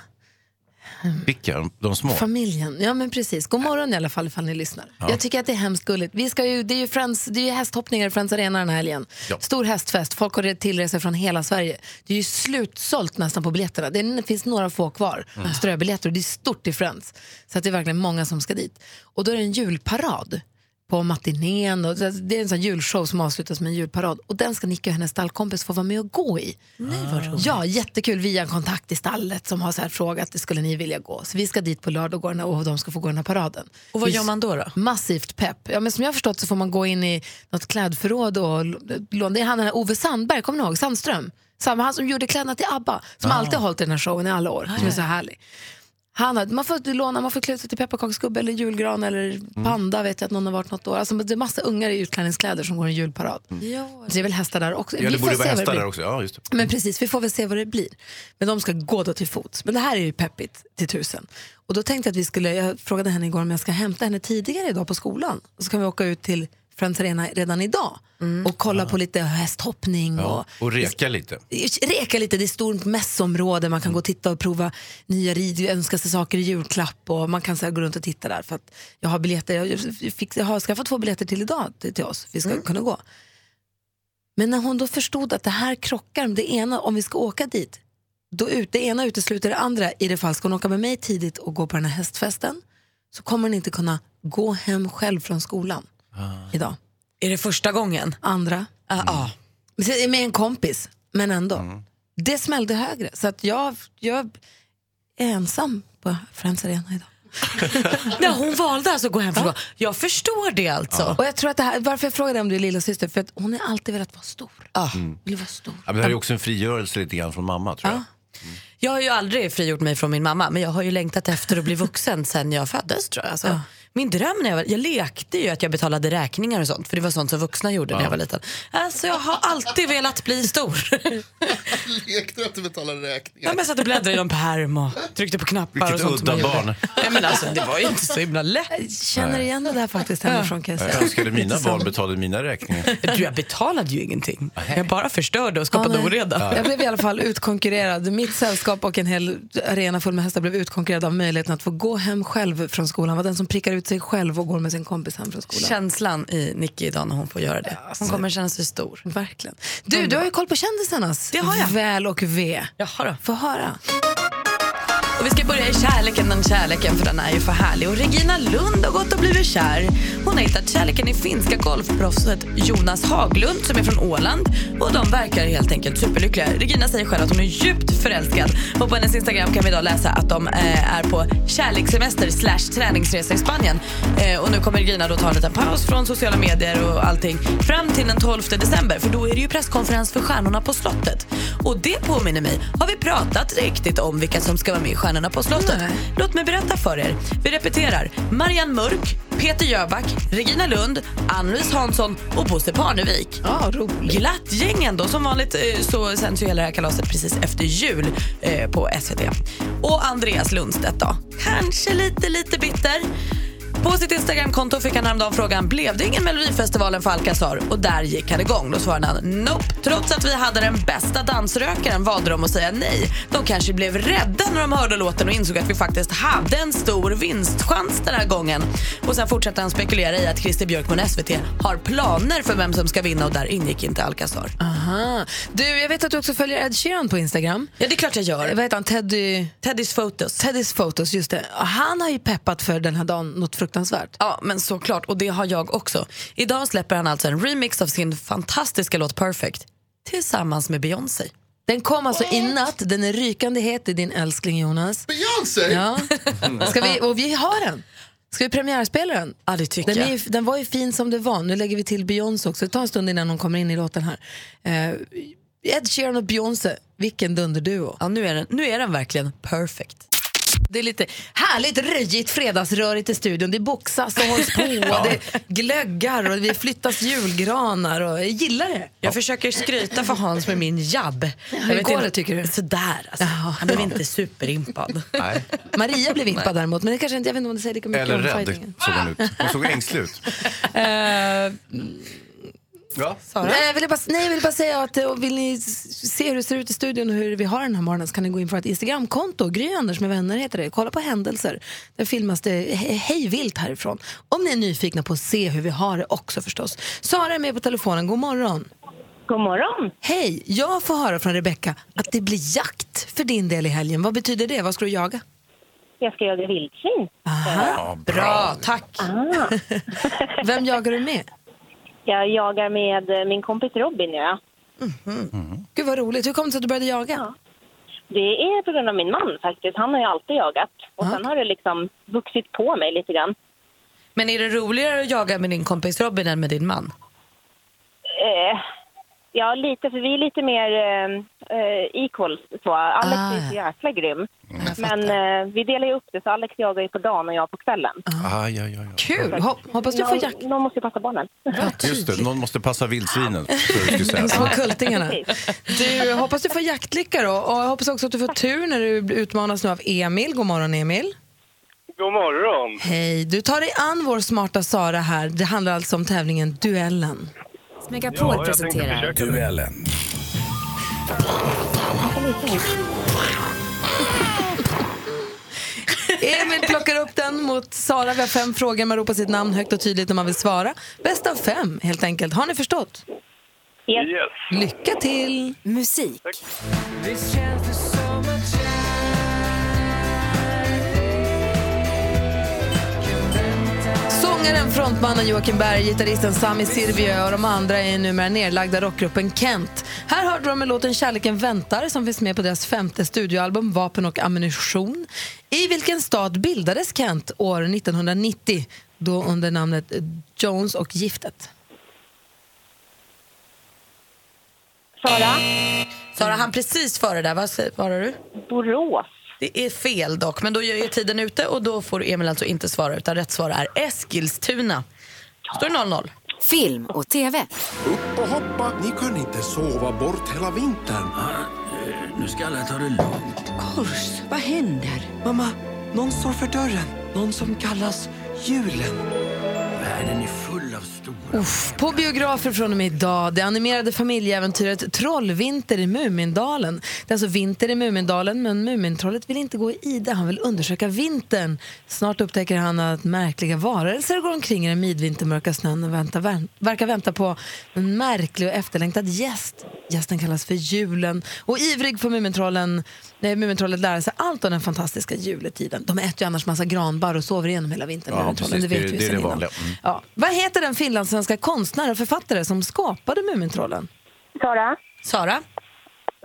[SPEAKER 2] Vilka? De små?
[SPEAKER 1] Familjen, ja men precis. God morgon i alla fall ifall ni lyssnar.
[SPEAKER 2] Ja.
[SPEAKER 1] Jag tycker att det är hemskt gulligt. Vi ska ju, det är ju, Friends, det är ju hästhoppningar i Friends Arena den här helgen.
[SPEAKER 12] Ja.
[SPEAKER 1] Stor hästfest, folk har redan tillresor från hela Sverige. Det är ju slutsålt nästan på biljetterna. Det är- finns några få kvar,
[SPEAKER 12] Mm.
[SPEAKER 1] ströbiljetter och det är stort i Friends. Så att det är verkligen många som ska dit. Och då är det en julparad på matinén. Och alltså, det är en sån här julshow som avslutas med en julparad. Och den ska Nicky och hennes stallkompis få vara med och gå i. Ja, jättekul via en kontakt i stallet som har så här frågat skulle ni vilja gå. Så vi ska dit på lördag och, gå den här, och de ska få gå den här paraden.
[SPEAKER 3] Och vad
[SPEAKER 1] Vi-
[SPEAKER 3] gör man då? då?
[SPEAKER 1] Massivt pepp. Ja, men som jag har förstått så får man gå in i något klädförråd och l- låna. Det är han den här Ove Sandberg, kommer ni ihåg? Sandström. Samma, han som gjorde kläderna till ABBA.
[SPEAKER 3] Ah.
[SPEAKER 1] Som alltid har hållit i den här showen i alla år. Som är så härlig. Han har, man får låna, man får klä ut sig till pepparkaksgubbe eller julgran eller
[SPEAKER 2] Mm.
[SPEAKER 1] panda vet jag att någon har varit något år. Alltså, det är massa ungar i utklädningskläder som går en julparad. Så det är väl hästar där också.
[SPEAKER 2] Mm. Ja,
[SPEAKER 1] Vi
[SPEAKER 2] det
[SPEAKER 1] får
[SPEAKER 2] borde
[SPEAKER 1] se
[SPEAKER 2] vara
[SPEAKER 1] vad det
[SPEAKER 2] hästar
[SPEAKER 1] blir.
[SPEAKER 2] där också. Ja, just det.
[SPEAKER 1] Men precis, vi får väl se vad det blir. Men de ska gå då till fots. Men det här är ju peppigt till tusen. Och då tänkte jag att vi skulle, jag frågade henne igår om jag ska hämta henne tidigare idag på skolan. Och så kan vi åka ut till Friends Arena redan idag och kolla på lite hästhoppning
[SPEAKER 2] Mm. Ja,
[SPEAKER 1] och
[SPEAKER 2] och reka lite.
[SPEAKER 1] reka lite. Det är ett stort mässområde. Man kan gå och titta och prova nya rid, önska sig saker i julklapp och man kan så här gå runt och titta där. För att jag har biljetter. Jag, fick, jag har skaffat två biljetter till idag till, till oss. Vi ska
[SPEAKER 3] Mm.
[SPEAKER 1] kunna gå. Men när hon då förstod att det här krockar, det ena, om vi ska åka dit, då ut, det ena utesluter det andra. I det fall ska hon åka med mig tidigt och gå på den här hästfesten så kommer hon inte kunna gå hem själv från skolan idag.
[SPEAKER 3] Ah. Är det första gången? Ah,
[SPEAKER 1] Andra.
[SPEAKER 3] Ja.
[SPEAKER 1] Med- Med en kompis, men ändå.
[SPEAKER 2] Mm.
[SPEAKER 1] Det smällde högre, så att jag, jag är ensam på Friends Arena idag.
[SPEAKER 3] Ja, hon valde alltså att gå hem från skolan. Jag förstår det alltså.
[SPEAKER 1] Och jag tror att det här, varför jag frågade om du är lilla syster för att hon har alltid velat vara stor.
[SPEAKER 2] Mm.
[SPEAKER 1] Vill vara stor.
[SPEAKER 2] Ja, men det här är också en frigörelse lite grann från mamma tror jag.
[SPEAKER 3] Jag har ju aldrig frigjort mig från min mamma men jag har ju längtat efter att bli vuxen sen jag föddes tror jag. Alltså, Min dröm när jag var jag lekte ju att jag betalade räkningar och sånt för det var sånt som vuxna gjorde när jag var liten. Alltså jag har alltid velat bli stor.
[SPEAKER 6] Lekte du att du betalade
[SPEAKER 3] Ja,
[SPEAKER 6] räkningar?
[SPEAKER 3] men jag satt och bläddrade i någon pärm och tryckte på knappar och
[SPEAKER 2] Vilket
[SPEAKER 3] sånt. som
[SPEAKER 2] udda
[SPEAKER 3] jag gjorde.
[SPEAKER 2] barn.
[SPEAKER 3] Nej, men alltså, det var ju inte så himla lätt. Jag
[SPEAKER 1] känner igen det där faktiskt hemifrån kan jag
[SPEAKER 2] Jag
[SPEAKER 1] säga.
[SPEAKER 2] önskade mina
[SPEAKER 1] Lite så.
[SPEAKER 2] barn betalade mina räkningar.
[SPEAKER 3] Du, jag betalade ju ingenting. Jag bara förstörde och skapade
[SPEAKER 1] Ja, nej.
[SPEAKER 3] oreda.
[SPEAKER 1] Jag blev i alla fall utkonkurrerad. Mitt sällskap och en hel arena full med hästar blev utkonkurrerad av möjligheten att få gå hem själv från skolan. Var den som prickar ut sig själv och går med sin kompis hem från skolan.
[SPEAKER 3] Känslan i Nicky idag när hon får göra det. Hon kommer känna sig stor.
[SPEAKER 1] Verkligen. Du, du har ju koll på kändisarnas det har jag. väl och ve.
[SPEAKER 3] Jag har det.
[SPEAKER 1] Få höra.
[SPEAKER 3] Och vi ska börja i kärleken, den kärleken, för den är ju för härlig. Och Regina Lund har gått och blivit kär. Hon har hittat kärleken i finska golfproffset Jonas Haglund som är från Åland. Och de verkar helt enkelt superlyckliga. Regina säger själv att hon är djupt förälskad. Och på hennes Instagram kan vi idag läsa att de eh, är på kärlekssemester slash träningsresa i Spanien. Eh, och nu kommer Regina då ta en liten paus från sociala medier och allting fram till den 12 december för då är det ju presskonferens för Stjärnorna på slottet. Och det påminner mig, har vi pratat riktigt om vilka som ska vara med i Stjärnorna på slottet? Låt mig berätta för er. Vi repeterar. Marianne Mörk, Peter Jöback, Regina Lund, Ann-Louise Hansson och Bosse Parnevik.
[SPEAKER 1] Ja, roligt.
[SPEAKER 3] Glatt gäng ändå. Som vanligt eh, så sänds ju hela det här kalaset precis efter jul eh, på SVT. Och Andreas Lundstedt då? Kanske lite, lite bitter. På sitt Instagramkonto fick han häromdagen frågan blev det ingen Melodifestivalen för Alcazar och där gick han igång. Då svarade han nope. Trots att vi hade den bästa dansrökaren valde de att säga nej. De kanske blev rädda när de hörde låten och insåg att vi faktiskt hade en stor vinstchans den här gången. Och sen fortsatte han spekulera i att Christer Björkman och SVT har planer för vem som ska vinna och där ingick inte Alcazar.
[SPEAKER 1] Aha. Du, jag vet att du också följer Ed Sheeran på Instagram. Eh,
[SPEAKER 3] Ja, det är klart jag gör.
[SPEAKER 1] Vad heter han? Teddy...
[SPEAKER 3] Teddys Photos.
[SPEAKER 1] Teddys Photos, just det. Han har ju peppat för den här dagen något fruktansvärt.
[SPEAKER 3] Ja, men såklart. Och det har jag också. Idag släpper han alltså en remix av sin fantastiska låt Perfect tillsammans med Beyoncé.
[SPEAKER 1] Den kom alltså i natt. Den är rykande het i din älskling Jonas.
[SPEAKER 6] Beyoncé!
[SPEAKER 1] Ja. Ska vi, och vi har den. Ska vi premiärspela den?
[SPEAKER 3] Ja, det tycker
[SPEAKER 1] den
[SPEAKER 3] jag.
[SPEAKER 1] Är, ju- den var ju fin som det var. Nu lägger vi till Beyoncé också. Det tar en stund innan hon kommer in i låten här. Eh, Ed Sheeran och Beyoncé, vilken dunderduo.
[SPEAKER 3] Ja, nu är, den, nu är den verkligen perfect.
[SPEAKER 1] Det är lite härligt röjigt fredagsrörigt i studion. Det boxas och hålls på.
[SPEAKER 3] Ja.
[SPEAKER 1] Och det glöggar och vi flyttas julgranar. Och jag gillar det.
[SPEAKER 3] Jag försöker skryta för Hans med min jabb.
[SPEAKER 1] hur går det,
[SPEAKER 3] tycker du? Sådär alltså. Han blev inte superimpad.
[SPEAKER 2] Nej.
[SPEAKER 1] Maria blev impad däremot, men det kanske inte, jag vet inte om det säger lika mycket
[SPEAKER 2] Eller
[SPEAKER 1] om
[SPEAKER 2] rädd
[SPEAKER 1] fightingen.
[SPEAKER 2] såg hon ut. Hon såg ängslig ut. Ja.
[SPEAKER 1] Nej, jag ville bara, nej, jag ville bara säga att eh, och vill ni s- se hur det ser ut i studion och hur vi har den här morgonen så kan ni gå in på vårt Instagramkonto, Gry Anders med vänner heter det. Kolla på händelser. Där filmas det he- hej vilt härifrån. Om ni är nyfikna på att se hur vi har det också förstås. Sara är med på telefonen, god morgon.
[SPEAKER 5] God morgon.
[SPEAKER 1] Hej, jag får höra från Rebecka att det blir jakt för din del i helgen. Vad betyder det? Vad ska du jaga?
[SPEAKER 5] Jag ska jaga vildsvin.
[SPEAKER 1] Aha, bra, tack. Vem jagar du med?
[SPEAKER 5] Jag jagar med eh, min kompis Robin. Ja.
[SPEAKER 1] Gud vad roligt. Hur kom det sig att du började jaga?
[SPEAKER 5] Det är på grund av min man faktiskt. Han har ju alltid jagat. Och sen har det liksom vuxit på mig lite grann.
[SPEAKER 3] Men är det roligare att jaga med din kompis Robin än med din man?
[SPEAKER 5] Eh, ja, lite. För vi är lite mer eh, eh, equals. Så. Alex är så jäkla grym. Men eh, vi delar ju upp det, så Alex jagar ju på dagen och jag på kvällen.
[SPEAKER 2] Ah, ja, ja, ja.
[SPEAKER 1] Kul! Hop- hoppas du får
[SPEAKER 5] Någon-
[SPEAKER 1] jakt.
[SPEAKER 5] Någon måste ju passa barnen.
[SPEAKER 3] typ.
[SPEAKER 2] Just det, någon måste passa vildsvinen. tror jag du skulle säga.
[SPEAKER 1] Som kultingarna. Du, hoppas du får jaktlycka då. Och jag hoppas också att du får tur när du utmanas nu av Emil. God morgon Emil.
[SPEAKER 9] God morgon!
[SPEAKER 1] Hej, du tar dig an vår smarta Sara här. Det handlar alltså om tävlingen Duellen.
[SPEAKER 9] Megapol Ja, jag tänkte presenterar försöka.
[SPEAKER 13] Duellen.
[SPEAKER 1] Emil plockar upp den mot Sara. Vi har fem frågor. Man ropar sitt namn högt och tydligt om man vill svara. Bäst av fem, helt enkelt. Har ni förstått?
[SPEAKER 9] Yes.
[SPEAKER 1] Lycka till! Musik. Sångaren, frontmannen Joakim Berg, gitarristen Sami Silvio och de andra är numera nedlagda rockgruppen Kent. Här hörde de med låten Kärleken väntar som finns med på deras femte studioalbum Vapen och ammunition. I vilken stad bildades Kent år 1990? Då under namnet Jones och giftet.
[SPEAKER 5] Sara?
[SPEAKER 3] Sara, han precis före där. Vad säger- svarar du?
[SPEAKER 5] Borås.
[SPEAKER 3] Det är fel dock, men då är tiden ute och då får Emil alltså inte svara utan rätt svar är Eskilstuna. Står det 0-0? Film och TV.
[SPEAKER 10] Upp och hoppa! Ni kan inte sova bort hela vintern. Nu ska alla ta det lugnt.
[SPEAKER 14] Kors, vad händer? Mamma, någon står för dörren. Någon som kallas julen.
[SPEAKER 10] Världen är full av stora...
[SPEAKER 1] Uff, på biografer från och med idag, det animerade familjeäventyret Trollvinter i Mumindalen. Det är alltså vinter i Mumindalen, men Mumintrollet vill inte gå i ide, han vill undersöka vintern. Snart upptäcker han att märkliga varelser går omkring i den midvintermörka snön och väntar, vän- verkar vänta på en märklig och efterlängtad gäst. Gästen kallas för julen och ivrig får Mumintrollen, nej, Mumintrollet lära sig allt om den fantastiska juletiden. De äter ju annars massa granbarr och sover igenom hela vintern.
[SPEAKER 2] Ja,
[SPEAKER 1] Mumintrollen,
[SPEAKER 2] precis.
[SPEAKER 1] vet
[SPEAKER 2] Det-
[SPEAKER 1] vi
[SPEAKER 2] det är
[SPEAKER 1] sedan
[SPEAKER 2] det
[SPEAKER 1] innan.
[SPEAKER 2] vanliga. Mm.
[SPEAKER 1] Ja. Vad heter den finlandssvenska konstnär och författare som skapade Mumintrollen?
[SPEAKER 5] Sara?
[SPEAKER 3] Sara?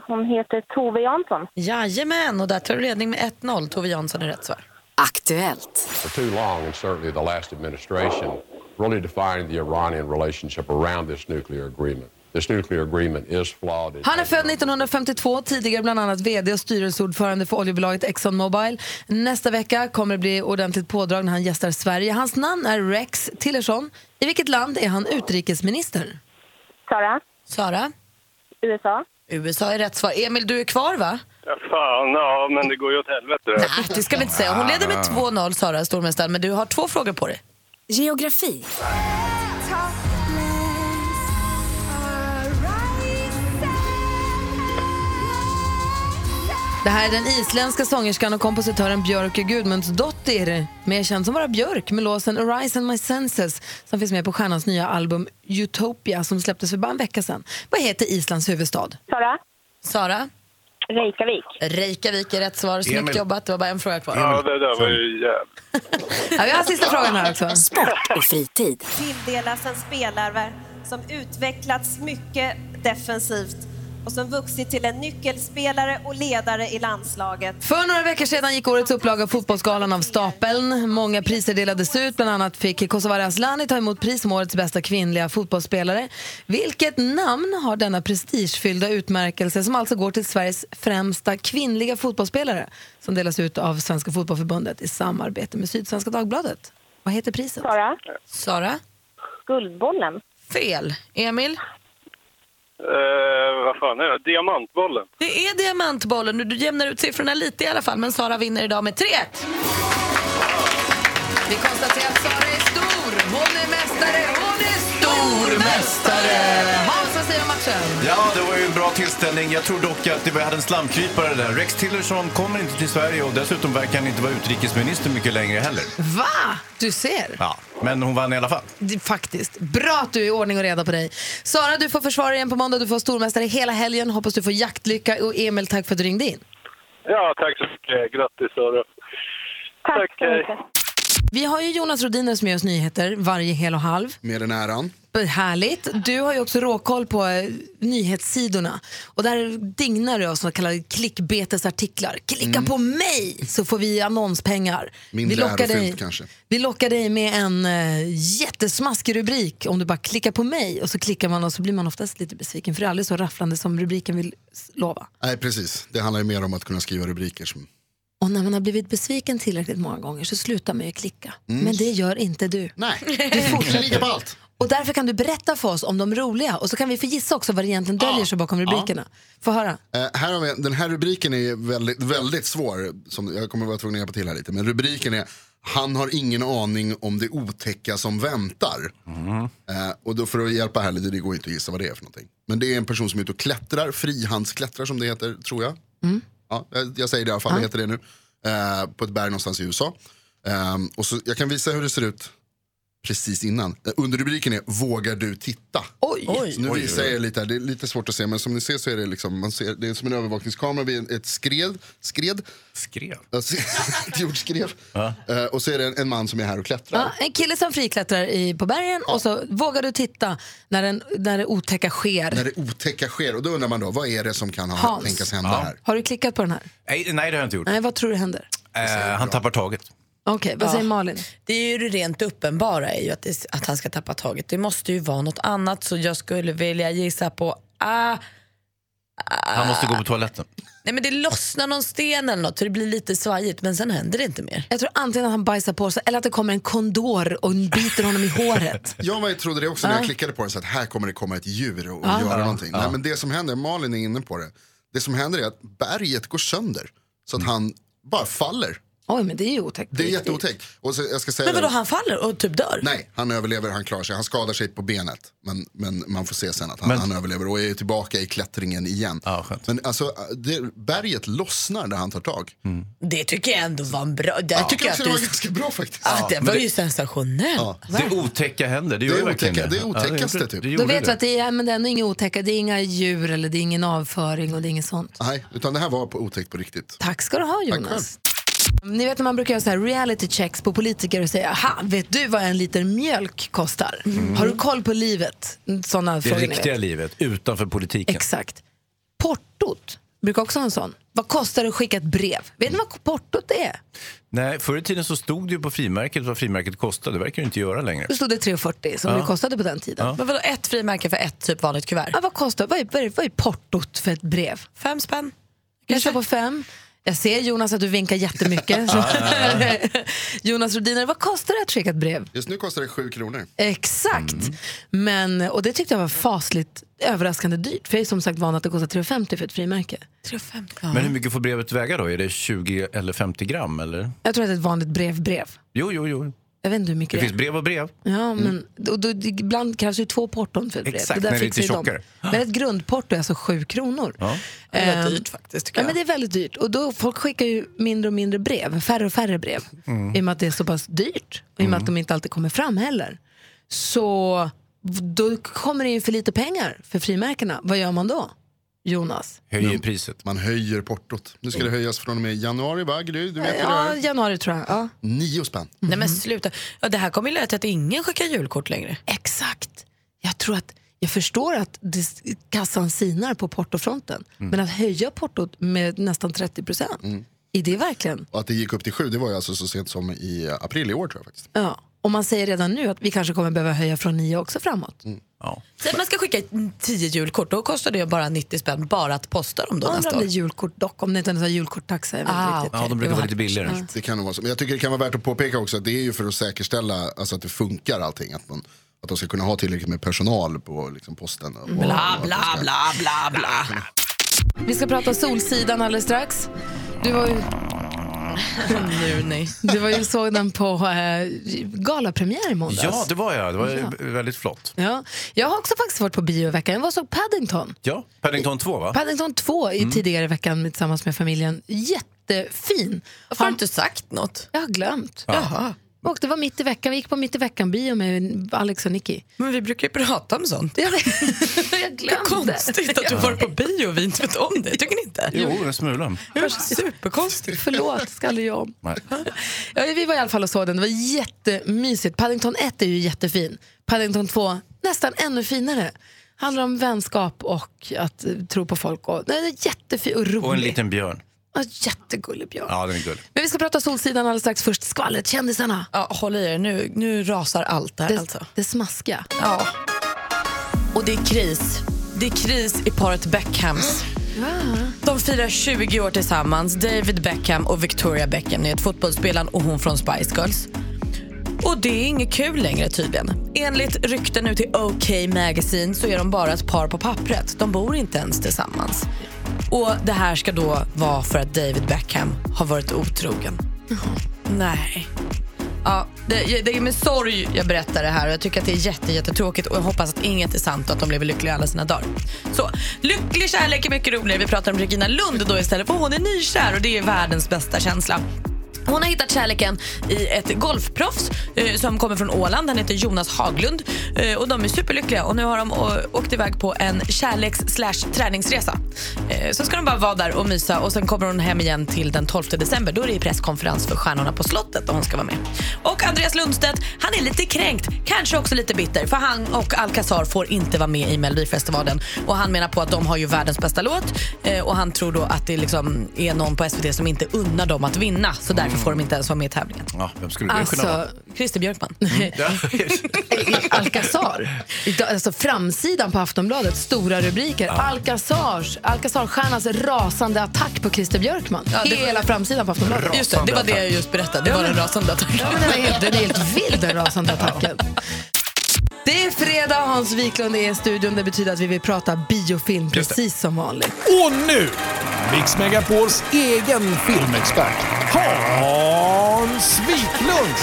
[SPEAKER 5] Hon heter Tove Jansson.
[SPEAKER 3] Jajamän, och där tar du ledning med 1-0. Tove Jansson är rätt svar.
[SPEAKER 15] Aktuellt. For too long, and certainly the last administration, really defined the Iranian relationship around this nuclear agreement. This nuclear agreement is flawed. It
[SPEAKER 1] Han är född 1952, tidigare bland annat vd och styrelseordförande för oljebolaget Exxonmobil. Nästa vecka kommer det bli ordentligt pådrag när han gästar Sverige. Hans namn är Rex Tillerson. I vilket land är han utrikesminister?
[SPEAKER 5] Sara?
[SPEAKER 3] Sara?
[SPEAKER 5] USA?
[SPEAKER 3] USA är rätt svar. Emil, du är kvar va?
[SPEAKER 9] Ja, fan, ja, men det går ju åt helvete.
[SPEAKER 3] Nej, det Ah, ska vi inte säga. Hon leder med 2-0, Sara stormästaren, men du har två frågor på dig.
[SPEAKER 14] Geografi.
[SPEAKER 1] Det här är den isländska sångerskan och kompositören Björk Gudmundsdottir, mer känd som bara Björk, med låsen Arise and My Senses som finns med på stjärnans nya album Utopia som släpptes för bara en vecka sedan. Vad heter Islands huvudstad?
[SPEAKER 5] Sara?
[SPEAKER 3] Sara?
[SPEAKER 5] Reykjavik.
[SPEAKER 3] Reykjavik är rätt svar. Snyggt
[SPEAKER 5] Emil.
[SPEAKER 3] jobbat. Det var bara en fråga kvar.
[SPEAKER 9] Ja, det där var ju jävligt.
[SPEAKER 1] Ja, vi har sista frågan här också.
[SPEAKER 15] Sport och fritid.
[SPEAKER 16] tilldelas en spelare som utvecklats mycket defensivt och som vuxit till en nyckelspelare och ledare i landslaget.
[SPEAKER 1] För några veckor sedan gick årets upplaga av Fotbollsgalan av stapeln. Många priser delades ut. Bland annat fick Kosovare Asllani ta emot pris som årets bästa kvinnliga fotbollsspelare. Vilket namn har denna prestigefyllda utmärkelse som alltså går till Sveriges främsta kvinnliga fotbollsspelare som delas ut av Svenska Fotbollförbundet i samarbete med Sydsvenska Dagbladet? Vad heter priset?
[SPEAKER 5] Sara?
[SPEAKER 3] Sara?
[SPEAKER 5] Guldbollen.
[SPEAKER 3] Fel. Emil?
[SPEAKER 9] Eh, vad fan är det? Diamantbollen.
[SPEAKER 3] Det är diamantbollen. Du- Du jämnar ut siffrorna lite i alla fall, men Sara vinner idag med 3-1.
[SPEAKER 1] Vi konstaterar att Sara är stor. Hon är mästare. Hon är stormästare! Hans, vad säger du om matchen?
[SPEAKER 2] Ja, det var ju en bra tillställning. Jag tror dock att det vi hade en slamkrypare där. Rex Tillerson kommer inte till Sverige och dessutom verkar han inte vara utrikesminister mycket längre heller.
[SPEAKER 3] Mm.
[SPEAKER 1] Va? Du ser.
[SPEAKER 2] Ja, men hon vann i alla fall.
[SPEAKER 1] Det- Faktiskt. Bra att du är i ordning och reda på dig. Sara, du får försvara igen på måndag. Du får vara stormästare hela helgen. Hoppas du får jaktlycka. Och Emil, tack för att du ringde in.
[SPEAKER 9] Ja, tack så mycket. Grattis, Sara. Tack, tack så mycket.
[SPEAKER 1] Vi har ju Jonas Rodiner som ger oss nyheter varje hel och halv.
[SPEAKER 6] Med den äran.
[SPEAKER 1] Härligt. Du har ju också råkoll på eh, nyhetssidorna. Och där dignar det av så kallade klickbetesartiklar. Klicka
[SPEAKER 6] Mm.
[SPEAKER 1] på mig så får vi annonspengar. vi
[SPEAKER 6] Mindre
[SPEAKER 1] lockar
[SPEAKER 6] ärofyllt
[SPEAKER 1] dig,
[SPEAKER 6] kanske.
[SPEAKER 1] vi lockar dig med en eh, jättesmaskig rubrik om du bara klickar på mig och så klickar man och så blir man oftast lite besviken för det är aldrig så rafflande som rubriken vill s- lova.
[SPEAKER 6] Nej, precis. Det handlar ju mer om att kunna skriva rubriker som...
[SPEAKER 1] Och när man har blivit besviken tillräckligt många gånger så slutar man ju klicka.
[SPEAKER 6] Mm.
[SPEAKER 1] Men det gör inte du.
[SPEAKER 6] Nej,
[SPEAKER 1] du
[SPEAKER 6] klicka
[SPEAKER 1] fortsätter.
[SPEAKER 6] på allt.
[SPEAKER 1] Och därför kan du berätta för oss om de roliga och så kan vi få gissa också vad det egentligen döljer sig bakom rubrikerna. Få höra.
[SPEAKER 6] Eh, här har vi, den här rubriken är väldigt, väldigt svår. Som, jag kommer vara tvungen att hjälpa till här lite. Men rubriken är Han har ingen aning om det otäcka som väntar. Eh, och då för att hjälpa här lite, det går inte att gissa vad det är för någonting. Men det är en person som är ute och klättrar, frihandsklättrar som det heter, tror jag. Ja, jag- jag säger det i alla fall, det heter det nu. Eh, på ett berg någonstans i USA. Eh, och så, jag kan visa hur det ser ut precis innan. Eh, Underrubriken är Vågar du titta?
[SPEAKER 10] Oj.
[SPEAKER 6] Så nu
[SPEAKER 10] Oj,
[SPEAKER 6] visar
[SPEAKER 10] oj,
[SPEAKER 6] jag
[SPEAKER 10] oj.
[SPEAKER 6] er lite här. Det är lite svårt att se men som ni ser så är det liksom, man ser, det är som en övervakningskamera vid en- ett skred. Skred?
[SPEAKER 2] Skred?
[SPEAKER 6] ett jordskred. Eh, och så är det en, en man som är här och klättrar.
[SPEAKER 1] Ja, en kille som friklättrar i, på bergen och så vågar du titta när, den, när det otäcka sker.
[SPEAKER 6] När det otäcka sker. Och då undrar man då, vad är det som kan ha,
[SPEAKER 1] Hans.
[SPEAKER 6] tänkas hända
[SPEAKER 2] Ja.
[SPEAKER 6] här?
[SPEAKER 1] Har du klickat på den här?
[SPEAKER 2] Nej, nej, det har jag inte gjort.
[SPEAKER 1] Nej, vad tror du händer?
[SPEAKER 2] Eh, han tappar taget.
[SPEAKER 1] Okej, vad säger Malin?
[SPEAKER 3] Det är ju det rent uppenbara är ju att, det, att han ska tappa taget. Det måste ju vara något annat så jag skulle vilja gissa på ah,
[SPEAKER 2] Han måste gå på toaletten.
[SPEAKER 3] nej men det lossnar någon sten eller något så det blir lite svajigt men sen händer det inte mer.
[SPEAKER 1] Jag tror antingen att han bajsar på sig eller att det kommer en kondor och biter honom i håret.
[SPEAKER 6] Jag var, ju- trodde det också när
[SPEAKER 1] Ja.
[SPEAKER 3] Ah.
[SPEAKER 6] jag klickade på den, så att här kommer det komma ett djur och, och
[SPEAKER 1] Ja.
[SPEAKER 6] göra
[SPEAKER 1] Ja,
[SPEAKER 6] någonting.
[SPEAKER 2] ja.
[SPEAKER 6] Nej, men det som händer, Malin är inne på det, det som händer är att berget går sönder. Så
[SPEAKER 1] Mm.
[SPEAKER 6] att han bara faller.
[SPEAKER 1] Oj, men det är ju otäckt.
[SPEAKER 6] Det är jätteotäckt. Och så, jag ska säga
[SPEAKER 3] Men vadå
[SPEAKER 6] det-
[SPEAKER 3] han faller och typ dör?
[SPEAKER 6] Nej, han överlever, han klarar sig. Han skadar sig på benet. Men, men man får se sen att han, han överlever och är tillbaka i klättringen igen. men alltså, det, berget lossnar när han tar tag.
[SPEAKER 3] Det tycker jag ändå var en bra. Där
[SPEAKER 6] Ja.
[SPEAKER 3] tycker jag
[SPEAKER 6] Kanske
[SPEAKER 3] att
[SPEAKER 6] det
[SPEAKER 3] du,
[SPEAKER 6] var ganska bra faktiskt.
[SPEAKER 3] Ah, det
[SPEAKER 2] men
[SPEAKER 3] var
[SPEAKER 2] det-
[SPEAKER 3] ju sensationellt.
[SPEAKER 2] Det otäcka händer, det gör
[SPEAKER 6] Det är
[SPEAKER 2] verkligen
[SPEAKER 6] otäcka- det är
[SPEAKER 2] Ja,
[SPEAKER 6] otäckaste,
[SPEAKER 2] gjorde-
[SPEAKER 6] typ.
[SPEAKER 2] det
[SPEAKER 1] Då
[SPEAKER 2] gjorde
[SPEAKER 1] vet vi att det är, men det är ändå inga otäcka, det är inga djur eller det är ingen avföring och det är inget sånt.
[SPEAKER 6] Nej, utan det här var på otäckt på riktigt.
[SPEAKER 1] Tack ska du ha Jonas. Ni vet när man brukar göra så här reality checks på politiker och säga, aha, vet du vad en liter mjölk kostar? Har du koll på livet? Sådana
[SPEAKER 2] Mm. Det
[SPEAKER 1] frågor ni vet.
[SPEAKER 2] riktiga livet, utanför politiken.
[SPEAKER 1] Exakt. Portot brukar också ha en sån. Vad kostar det att skicka ett brev? Vet ni vad portot är?
[SPEAKER 2] Nej, förr i tiden så stod det ju på frimärket vad frimärket kostade. Det verkar ju inte göra längre.
[SPEAKER 1] Då stod det 3,40 som
[SPEAKER 2] Ja.
[SPEAKER 1] det kostade på den tiden.
[SPEAKER 2] Ja.
[SPEAKER 3] Men vadå ett frimärke för ett typ vanligt kuvert?
[SPEAKER 1] Ja, vad, kostar, vad, är, vad, är, vad är portot för ett brev?
[SPEAKER 3] Fem spänn.
[SPEAKER 1] Kan jag köpa fem? Jag ser Jonas att du vinkar jättemycket. Så- Jonas Rhodiner, vad kostar det att skicka ett brev?
[SPEAKER 6] Just nu kostar det sju kronor.
[SPEAKER 1] Exakt. Men, och det tyckte jag var fasligt överraskande dyrt. För jag är som sagt van att det kostar 3,50 för ett frimärke.
[SPEAKER 3] 3,50?
[SPEAKER 2] Men hur mycket får brevet väga då? Är det 20 eller 50 gram eller?
[SPEAKER 1] Jag tror att det är ett vanligt brevbrev.
[SPEAKER 2] Jo, jo, jo.
[SPEAKER 1] Jag vet inte hur mycket
[SPEAKER 2] Det
[SPEAKER 1] det
[SPEAKER 2] finns
[SPEAKER 1] är.
[SPEAKER 2] brev och brev.
[SPEAKER 1] Ja, men och då, ibland krävs ju två porton för ett brev.
[SPEAKER 2] Exakt,
[SPEAKER 1] Det där
[SPEAKER 2] när det är
[SPEAKER 1] fixar
[SPEAKER 2] lite
[SPEAKER 1] ju de.
[SPEAKER 2] tjockare.
[SPEAKER 1] Men ett grundporto är alltså 7 kronor.
[SPEAKER 2] Ja.
[SPEAKER 3] Det är
[SPEAKER 1] Ehm,
[SPEAKER 3] dyrt faktiskt tycker
[SPEAKER 1] Ja,
[SPEAKER 3] jag.
[SPEAKER 1] men det är väldigt dyrt. Och då, folk skickar ju mindre och mindre brev, färre och färre brev. I och med att det är så pass dyrt och i och med att de inte alltid kommer fram heller. Så då kommer det in för lite pengar för frimärkena. Vad gör man då? Jonas?
[SPEAKER 2] Höjer priset.
[SPEAKER 6] Man höjer portot. Nu ska det höjas från och med januari, va? Gry? Du vet hur
[SPEAKER 1] Ja,
[SPEAKER 6] det är.
[SPEAKER 1] januari tror jag. Ja.
[SPEAKER 6] Nio spänn.
[SPEAKER 3] Nej men sluta. Ja, det här kommer ju leda till att ingen skickar julkort längre.
[SPEAKER 1] Exakt. Jag tror att jag förstår att det, kassan sinar på portofronten. Men att höja portot med nästan 30 procent, är det verkligen?
[SPEAKER 6] Och att det gick upp till sju, det var ju alltså så sent som i april i år tror jag faktiskt.
[SPEAKER 1] Ja. Och man säger redan nu att vi kanske kommer behöva höja från 9 också framåt.
[SPEAKER 2] Ja.
[SPEAKER 3] Säg att Typ, man ska skicka 10 julkort, då kostar det bara 90 spänn bara att posta dem då
[SPEAKER 1] Undrar
[SPEAKER 3] nästa
[SPEAKER 1] om det är
[SPEAKER 3] år.
[SPEAKER 1] julkort dock, om det inte är en sån här julkorttaxa. jag vet inte riktigt.
[SPEAKER 2] Ah, Ja, de brukar
[SPEAKER 1] Det
[SPEAKER 2] vara lite billigare.
[SPEAKER 6] Det kan nog vara så. Men jag tycker det kan vara värt att påpeka också att det är ju för att säkerställa alltså, att det funkar allting. Att, man, att de ska kunna ha tillräckligt med personal på liksom, posten. Och, och
[SPEAKER 3] Bla,
[SPEAKER 6] att de
[SPEAKER 3] bla,
[SPEAKER 6] ska-
[SPEAKER 3] bla, bla, bla.
[SPEAKER 1] Vi ska prata Solsidan alldeles strax. Du var ju,
[SPEAKER 3] nu, nej.
[SPEAKER 1] du var ju såg den på eh, galapremiär i måndags.
[SPEAKER 2] Ja, det var jag. Det var ju
[SPEAKER 1] Ja.
[SPEAKER 2] väldigt flott.
[SPEAKER 1] Ja. Jag har också faktiskt varit på bio i veckan. Jag var och såg Paddington.
[SPEAKER 2] Ja, Paddington 2 va?
[SPEAKER 1] Paddington 2 i
[SPEAKER 2] Mm.
[SPEAKER 1] tidigare i veckan med- tillsammans med familjen. Jättefin. Varför har du
[SPEAKER 3] inte sagt något?
[SPEAKER 1] Jag har glömt.
[SPEAKER 3] Ja. Jaha.
[SPEAKER 1] Och det var mitt i veckan. Vi gick på mitt i veckan-bio med Alex och Nicky.
[SPEAKER 3] Men vi brukar ju prata om sånt.
[SPEAKER 1] Jag, jag glömde.
[SPEAKER 3] Konstigt att du var på bio och vi inte vet om det, tycker ni inte?
[SPEAKER 2] Jo, en smula.
[SPEAKER 3] Det var Superkonstigt.
[SPEAKER 1] Förlåt, ska aldrig göra om.
[SPEAKER 2] Nej.
[SPEAKER 1] Ja, vi var i alla fall och såg den. Det var jättemysigt. Paddington 1 är ju jättefin. Paddington 2 nästan ännu finare. Handlar om vänskap och att eh, tro på folk. Och, nej, det är jättefin och rolig.
[SPEAKER 2] Och en liten björn.
[SPEAKER 1] Ja, jättegullig björn.
[SPEAKER 2] Ja, den är gullig.
[SPEAKER 1] Men vi ska prata Solsidan alldeles strax. Först skvallret, kändisarna.
[SPEAKER 3] Ja, håll i er, nu, nu rasar allt där
[SPEAKER 1] Det,
[SPEAKER 3] alltså.
[SPEAKER 1] det smaskiga.
[SPEAKER 3] Ja. Och det är kris. Det är kris i paret Beckhams. De firar 20 år tillsammans, David Beckham och Victoria Beckham. Ni vet fotbollsspelaren och hon från Spice Girls. Och det är inget kul längre tydligen. Enligt rykten nu till OK Magazine så är de bara ett par på pappret. De bor inte ens tillsammans. Och det här ska då vara för att David Beckham har varit otrogen. Nej. Ja, det, det är med sorg jag berättar det här och jag tycker att det är jätte, jättetråkigt och jag hoppas att inget är sant och att de lever lyckliga alla sina dagar. Så, lycklig kärlek är mycket roligare. Vi pratar om Regina Lund då istället för hon är nykär och det är världens bästa känsla. Hon har hittat kärleken i ett golfproffs eh, som kommer från Åland. Han heter Jonas Haglund eh, och de är superlyckliga och nu har de eh, åkt iväg på en kärleks slash träningsresa. Eh, så ska de bara vara där och mysa och sen kommer hon hem igen till den 12 december. Då är det presskonferens för Stjärnorna på slottet och hon ska vara med. Och Andreas Lundstedt, han är lite kränkt, kanske också lite bitter för han och Alcazar får inte vara med i Melodifestivalen och han menar på att de har ju världens bästa låt eh, och han tror då att det liksom är någon på SVT som inte unnar dem att vinna så
[SPEAKER 17] Mm.
[SPEAKER 3] därför får de inte ens vara med i tävlingen.
[SPEAKER 2] Ja, vem skulle det kunna
[SPEAKER 3] Alltså,
[SPEAKER 2] vara?
[SPEAKER 3] Christer Björkman.
[SPEAKER 17] Mm. Alcazar. Idag- Alltså framsidan på Aftonbladet, stora rubriker. Alcazars, Alcazar-stjärnans rasande attack på Christer Björkman.
[SPEAKER 3] Ja, det-
[SPEAKER 17] Hela framsidan på Aftonbladet.
[SPEAKER 3] Just det, det var det jag just berättade. Det var den rasande attacken.
[SPEAKER 17] Ja, men den är helt, den är helt vild den rasande attacken.
[SPEAKER 1] Det är fredag Hans Wiklund är i studion. Det betyder att vi vill prata biofilm
[SPEAKER 13] Just det.
[SPEAKER 1] precis som vanligt.
[SPEAKER 13] Och nu, Mix Megapols egen filmexpert, Hans Wiklund!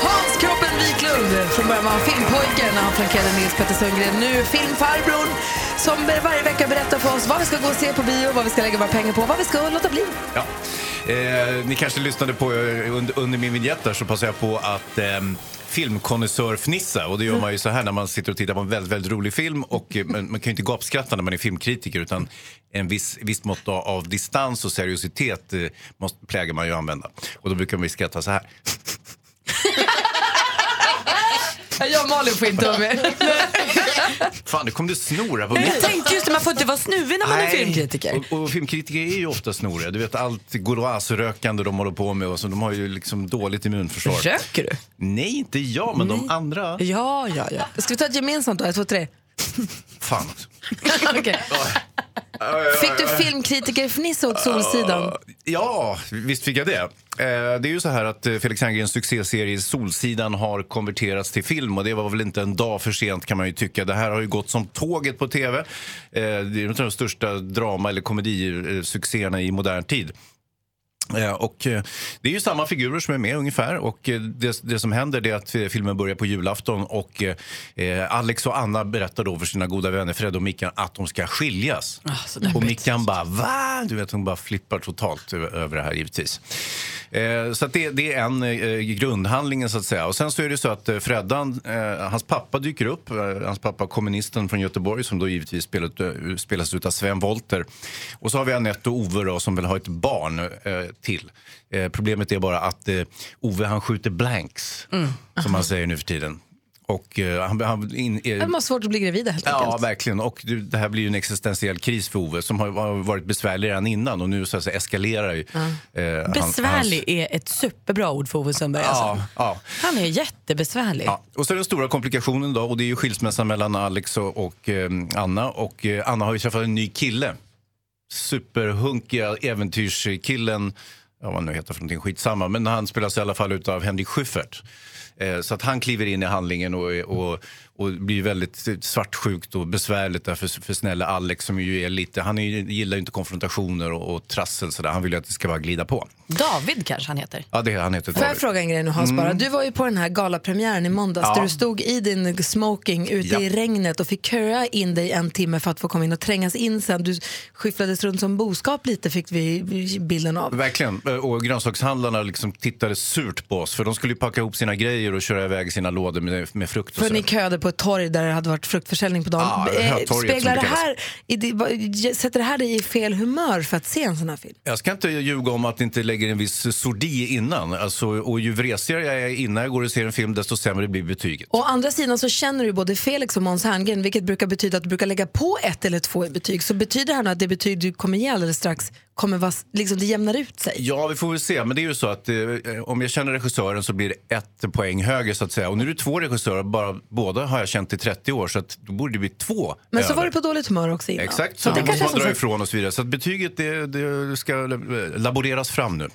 [SPEAKER 1] Hans Kroppen Wiklund! Från början var han filmpojken när han flankerade Nils Petter Sundgren. Nu filmfarbrorn som varje vecka berättar för oss vad vi ska gå och se på bio, vad vi ska lägga våra pengar på, vad vi ska låta bli.
[SPEAKER 2] Ja. Eh, ni kanske lyssnade på eh, under, under min vignett där så passade jag på att ehm, filmkonnässörfnissa. Och det gör man ju så här när man sitter och tittar på en väldigt, väldigt rolig film. Och, eh, men, man kan ju inte gapskratta när man är filmkritiker utan en viss, viss mått av, av distans och seriositet eh, måste, plägar man ju använda. Och då brukar man ju skratta så här.
[SPEAKER 1] Jag och Malin får inte vara med.
[SPEAKER 2] Fan, nu kom du snora på
[SPEAKER 3] Jag
[SPEAKER 2] mitten.
[SPEAKER 3] tänkte just det, man får inte vara snuvig när man är
[SPEAKER 2] Nej.
[SPEAKER 3] filmkritiker.
[SPEAKER 2] Och, och filmkritiker är ju ofta snoriga. Du vet allt Goloise-rökande de håller på med och så de har ju liksom dåligt immunförsvar.
[SPEAKER 3] Röker du?
[SPEAKER 2] Nej, inte jag, men de andra.
[SPEAKER 3] Ja, ja, ja.
[SPEAKER 1] Ska vi ta ett gemensamt då? Ett, två, tre.
[SPEAKER 2] Fan.
[SPEAKER 1] Okej. Fick du filmkritikerfnissa åt Solsidan?
[SPEAKER 2] Eh, Ja, visst fick jag det. Eh, Det är ju så här att eh, Felix Serngrens succéserie Solsidan har konverterats till film och det var väl inte en dag för sent kan man ju tycka. Det här har ju gått som tåget på tv. Eh, Det är en av de största drama eller komedisuccéerna i modern tid. Eh, Och eh, det är ju samma figurer som är med ungefär och eh, det, det som händer det är att eh, filmen börjar på julafton och eh, eh, Alex och Anna berättar då för sina goda vänner Fred och Mickan att de ska skiljas. och Mickan bara va? Du vet hon bara flippar totalt ö- över det här givetvis. Eh, Så att det, det är en eh, grundhandlingen så att säga. Och sen så är det så att eh, Freddan, eh, hans pappa dyker upp. Eh, Hans pappa kommunisten från Göteborg som då givetvis spelat, eh, spelas ut av Sven Wollter. Och så har vi Anette och Ove då, som vill ha ett barn eh, till. Eh, problemet är bara att eh, Ove han skjuter blanks,
[SPEAKER 3] Mm.
[SPEAKER 2] som man säger nu för tiden. Och eh, han, han in, eh,
[SPEAKER 1] De har svårt att bli gravida helt enkelt.
[SPEAKER 2] Ja, verkligen. Och det- det här blir ju en existentiell kris för Ove som har- har varit besvärlig redan innan och nu så att säga, eskalerar ju. eh, han- hans-
[SPEAKER 3] Besvärlig är ett superbra ord för Ove Sundberg.
[SPEAKER 2] Ja,
[SPEAKER 3] alltså.
[SPEAKER 2] ja.
[SPEAKER 3] Han är jättebesvärlig.
[SPEAKER 2] Ja. Och så är den stora komplikationen då och det är ju skilsmässan mellan Alex och, och eh, Anna och eh, Anna har ju träffat en ny kille. Superhunkiga äventyrskillen, ja, vad han nu heter för någonting, skitsamma. Men han spelas i alla fall utav Henrik Schyffert. Eh, Så att han kliver in i handlingen och, eh, och, och blir väldigt svartsjukt och besvärligt där för, för snälla Alex som ju är lite, han är, ju- gillar ju inte konfrontationer och, och trassel sådär. Han vill ju att det ska bara glida på.
[SPEAKER 3] David kanske han heter.
[SPEAKER 2] Ja, det han heter
[SPEAKER 1] Får jag
[SPEAKER 2] David.
[SPEAKER 1] fråga en grej nu Hans
[SPEAKER 2] Mm.
[SPEAKER 1] bara? Du var ju på den här galapremiären i måndags
[SPEAKER 2] Ja.
[SPEAKER 1] där du stod i din smoking ute
[SPEAKER 2] Ja.
[SPEAKER 1] i regnet och fick köa in dig en timme för att få komma in och trängas in sen. Du skyfflades runt som boskap lite fick vi bilden av.
[SPEAKER 2] Verkligen. Eh, Och grönsakshandlarna liksom tittade surt på oss. För de skulle ju packa ihop sina grejer och köra iväg sina lådor med, med frukt. Och
[SPEAKER 1] För
[SPEAKER 2] så.
[SPEAKER 1] ni köade på ett torg där det hade varit fruktförsäljning på dagen.
[SPEAKER 2] Ja, det här torget som
[SPEAKER 1] speglar
[SPEAKER 2] det
[SPEAKER 1] det
[SPEAKER 2] kallas.
[SPEAKER 1] här, i di- vad- sätter det här dig i fel humör för att se en sån här film?
[SPEAKER 2] Jag ska inte ljuga om att det inte lägger en viss sordi innan. Alltså, och ju vresigare jag är innan jag går och ser en film, desto sämre blir betyget.
[SPEAKER 1] Å andra sidan så känner du både Felix och Måns Herngren, vilket brukar betyda att du brukar lägga på ett eller två i betyg. Så betyder det här nu att det betyg du kommer ge alldeles strax kommer vara, s- liksom det jämnar ut sig?
[SPEAKER 2] Ja, vi får väl se. Men det är ju så att eh, om jag känner regissören så blir det ett poäng högre så att säga. Och nu är det två regissörer, bara, båda har jag känt i 30 år så att då borde det bli två
[SPEAKER 1] Men så
[SPEAKER 2] över.
[SPEAKER 1] var du på dåligt humör också innan.
[SPEAKER 2] Exakt, så,
[SPEAKER 1] så det
[SPEAKER 2] man
[SPEAKER 1] kanske är
[SPEAKER 2] drar
[SPEAKER 1] som sagt-
[SPEAKER 2] ifrån och så vidare. Så att betyget det, det ska laboreras eh, fram nu.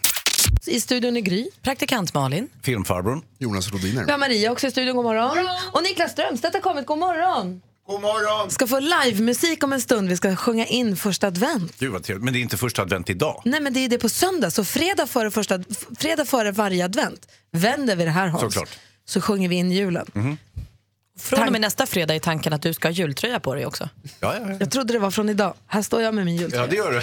[SPEAKER 1] I studion är Gry.
[SPEAKER 3] Praktikant Malin.
[SPEAKER 2] Filmfarbrorn.
[SPEAKER 6] Jonas
[SPEAKER 1] Vi har
[SPEAKER 6] Rodiner.
[SPEAKER 1] Maria också i studion, god morgon. Och Niklas Strömstedt har kommit, god morgon.
[SPEAKER 6] God morgon.
[SPEAKER 1] Ska få livemusik om en stund, vi ska sjunga in första advent.
[SPEAKER 2] Gud vad trevligt. Men det är inte första advent idag.
[SPEAKER 1] Nej men det är det på söndag, så fredag före, första, fredag före varje advent vänder vi det här Hans.
[SPEAKER 2] Såklart. Mhm.
[SPEAKER 1] Så sjunger vi in julen.
[SPEAKER 3] Från och med nästa fredag är tanken att du ska ha jultröja på dig också.
[SPEAKER 2] Ja, ja,
[SPEAKER 1] Jag trodde det var från idag, här står jag med min jultröja.
[SPEAKER 2] Ja, det gör du.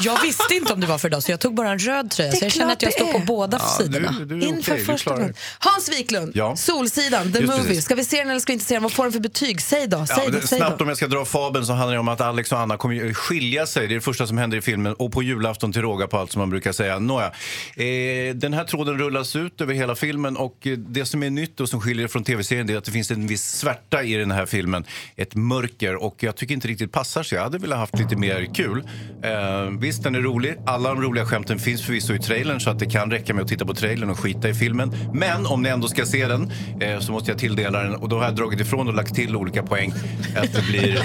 [SPEAKER 3] Jag visste inte om det var för idag så jag tog bara en röd tröja.
[SPEAKER 1] Det
[SPEAKER 3] Så
[SPEAKER 1] är
[SPEAKER 3] jag känner att jag
[SPEAKER 1] klart det
[SPEAKER 3] står på
[SPEAKER 1] är.
[SPEAKER 3] båda
[SPEAKER 1] Ja,
[SPEAKER 3] sidorna.
[SPEAKER 1] du- du är Inför okej, du första klarar det. advent. Hans Wiklund,
[SPEAKER 2] Ja.
[SPEAKER 1] Solsidan, The
[SPEAKER 2] Just
[SPEAKER 1] Movie.
[SPEAKER 2] precis.
[SPEAKER 1] Ska vi se den eller ska vi inte se den? Vad får den för betyg? Säg då, säg
[SPEAKER 2] Ja,
[SPEAKER 1] då,
[SPEAKER 2] men
[SPEAKER 1] säg
[SPEAKER 2] snabbt
[SPEAKER 1] då.
[SPEAKER 2] om jag ska dra fabeln så handlar det om att Alex och Anna kommer ju skilja sig. Det är det första som händer i filmen. Och på julafton till råga på allt som man brukar säga. Nåja. Eh, den här tråden rullas ut över hela filmen och eh, det som är nytt och som skiljer det från tv-serien det är att det finns en viss svärta i den här filmen. Ett mörker och jag tycker inte riktigt passar så jag hade velat haft lite mer kul. Eh, visst, den är rolig. Alla de roliga skämten finns förvisso i trailern så att det kan räcka med att titta på trailern och skita i filmen. Men om ni ändå ska se den eh, så måste jag tilldela den och då har jag dragit ifrån och lagt till olika poäng. Att det blir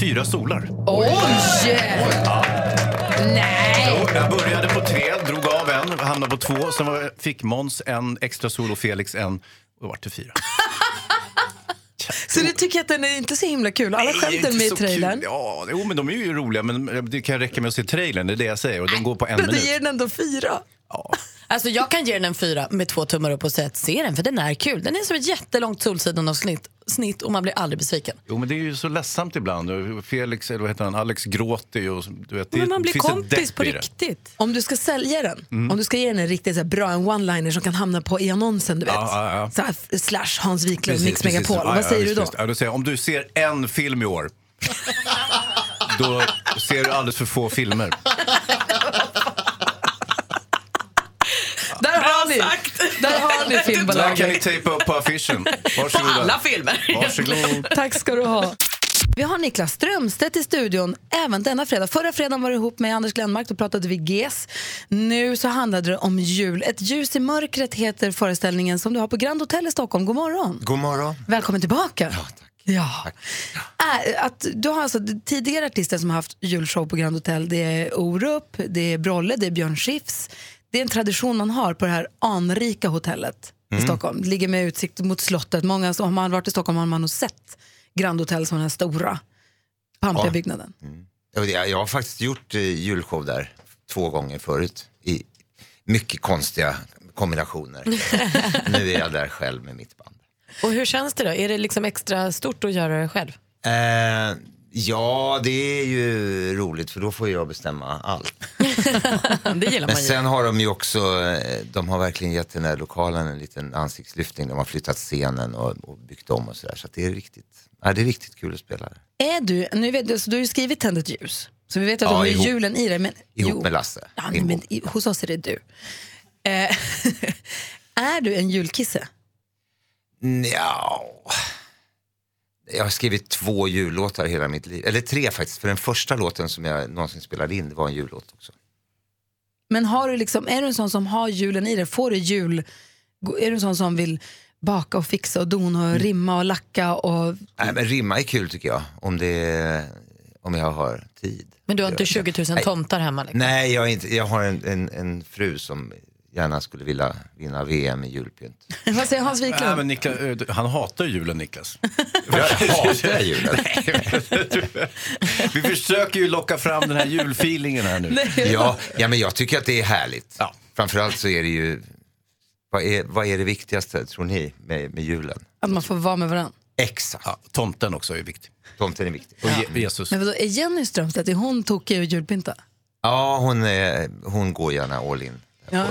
[SPEAKER 2] fyra solar.
[SPEAKER 18] Oj!
[SPEAKER 2] Jo,
[SPEAKER 18] Nej!
[SPEAKER 2] Jag började på tre, drog av en, hamnade på två. Sen var- fick Måns en, extra sol och Felix en. Och då vart det fyra.
[SPEAKER 1] Så du tycker att den är inte så himla kul? Alla
[SPEAKER 2] Det är inte
[SPEAKER 1] skämten med i
[SPEAKER 2] så kul.
[SPEAKER 1] trailern.
[SPEAKER 2] Ja, jo, men de är ju roliga. Men det kan räcka med att se trailern. Det är det jag säger. Och den går på en
[SPEAKER 3] men det
[SPEAKER 2] minut.
[SPEAKER 3] ger
[SPEAKER 1] den ändå fyra.
[SPEAKER 3] Alltså jag kan ge den en fyra med två tummar upp och säga att se den för den är kul. Den är som ett jättelångt solsidan och snitt, snitt och man blir aldrig besviken.
[SPEAKER 2] Jo, men det är ju så ledsamt ibland. Felix, eller vad heter han, Alex gråter ju. och så- Du vet, det
[SPEAKER 1] Men man blir
[SPEAKER 2] finns ett
[SPEAKER 1] kompis
[SPEAKER 2] depp
[SPEAKER 1] på
[SPEAKER 2] i det.
[SPEAKER 1] riktigt. Om du ska sälja den,
[SPEAKER 2] Mm.
[SPEAKER 1] om du ska ge den en riktigt så här bra en one-liner som kan hamna på i annonsen, du vet.
[SPEAKER 2] Ja, ja, ja.
[SPEAKER 1] Så här, f- slash Hans Wiklund,
[SPEAKER 2] Precis,
[SPEAKER 1] Mix
[SPEAKER 2] precis.
[SPEAKER 1] Megapol.
[SPEAKER 2] Ja,
[SPEAKER 1] Vad
[SPEAKER 2] ja,
[SPEAKER 1] säger
[SPEAKER 2] visst,
[SPEAKER 1] du då?
[SPEAKER 2] visst. Ja, då säger jag, om du ser en film i år, då ser du alldeles för få filmer.
[SPEAKER 1] Där har ni, där har ni
[SPEAKER 2] Där kan ni
[SPEAKER 1] filmbolaget.
[SPEAKER 2] tejpa upp på affischen. Varsågoda.
[SPEAKER 1] På alla filmer.
[SPEAKER 2] Varsågod.
[SPEAKER 1] Tack ska du ha. Vi har Niklas Strömstedt i studion även denna fredag. Förra fredagen var du ihop med Anders Glenmark, då pratade vi GES. Nu så handlade det om jul. Ett ljus i mörkret heter föreställningen som du har på Grand Hotel i Stockholm. God morgon.
[SPEAKER 19] God morgon.
[SPEAKER 1] Välkommen tillbaka. Ja, tack. Äh, att du har alltså tidigare artister som har haft julshow på Grand Hotel. Det är Orup, det är Brolle, det är Björn Skifs. Det är en tradition man har på det här anrika hotellet i
[SPEAKER 19] Mm.
[SPEAKER 1] Stockholm. Det ligger med utsikt mot slottet. Många som har varit i Stockholm har man nog sett Grand Hotel som den här stora pampiga
[SPEAKER 19] Ja.
[SPEAKER 1] byggnaden.
[SPEAKER 19] Jag, vet, jag har faktiskt gjort eh, julshow där två gånger förut i mycket konstiga kombinationer. nu är jag där själv med mitt band.
[SPEAKER 3] Och hur känns det då? Är det liksom extra stort att göra det själv?
[SPEAKER 19] Eh, ja, det är ju roligt för då får jag bestämma allt.
[SPEAKER 3] Det gillar
[SPEAKER 19] Men
[SPEAKER 3] man ju.
[SPEAKER 19] sen har de ju också, eh, de har verkligen gett den här lokalen en liten ansiktslyftning. De har flyttat scenen och, och byggt om och sådär. Så att det är riktigt, ja, det är riktigt kul att spela där.
[SPEAKER 1] Är du, nu vet, du- så du har ju skrivit Tänd ett ljus, så vi vet att
[SPEAKER 19] Ja,
[SPEAKER 1] du har ju
[SPEAKER 19] ihop-
[SPEAKER 1] julen i dig. Men,
[SPEAKER 19] Ihop
[SPEAKER 1] jo.
[SPEAKER 19] med Lasse.
[SPEAKER 1] Ja, men i, hos oss är det du. Eh, är du en julkisse?
[SPEAKER 19] Nja. Jag har skrivit två jullåtar hela mitt liv. Eller tre faktiskt. För den första låten som jag någonsin spelade in det var en jullåt också.
[SPEAKER 1] Men har du liksom, är du en sån som har julen i dig? Får du jul? Är du en sån som vill baka och fixa och dona
[SPEAKER 2] Mm.
[SPEAKER 1] och rimma och lacka? Och,
[SPEAKER 19] Nej, men rimma är kul tycker jag. Om, det, om jag har tid.
[SPEAKER 3] Men du har inte 20 000
[SPEAKER 19] Nej.
[SPEAKER 3] tomtar hemma? Liksom.
[SPEAKER 19] Nej, jag, är inte, jag har en, en, en fru som gärna skulle vilja vinna VM i julpynt.
[SPEAKER 1] Vad säger Hans
[SPEAKER 2] Nej,
[SPEAKER 1] Wiklund?
[SPEAKER 2] men Niklas, eh, han hatar julen, Niklas.
[SPEAKER 19] Jag hatar julen.
[SPEAKER 2] Vi försöker ju locka fram den här julfeelingen här nu.
[SPEAKER 19] Ja, ja, men jag tycker att det är härligt. Framförallt så är det ju, vad är, vad är det viktigaste tror ni med, med julen?
[SPEAKER 1] Att man får vara med varandra.
[SPEAKER 19] Exakt.
[SPEAKER 2] tomten också är viktig.
[SPEAKER 19] Tomten är viktig.
[SPEAKER 2] Och Jesus.
[SPEAKER 1] Men vadå, är Jenny Strömstedt, är hon tokig och julpynta?
[SPEAKER 19] Ja, hon, är, hon går gärna all in
[SPEAKER 3] Ja.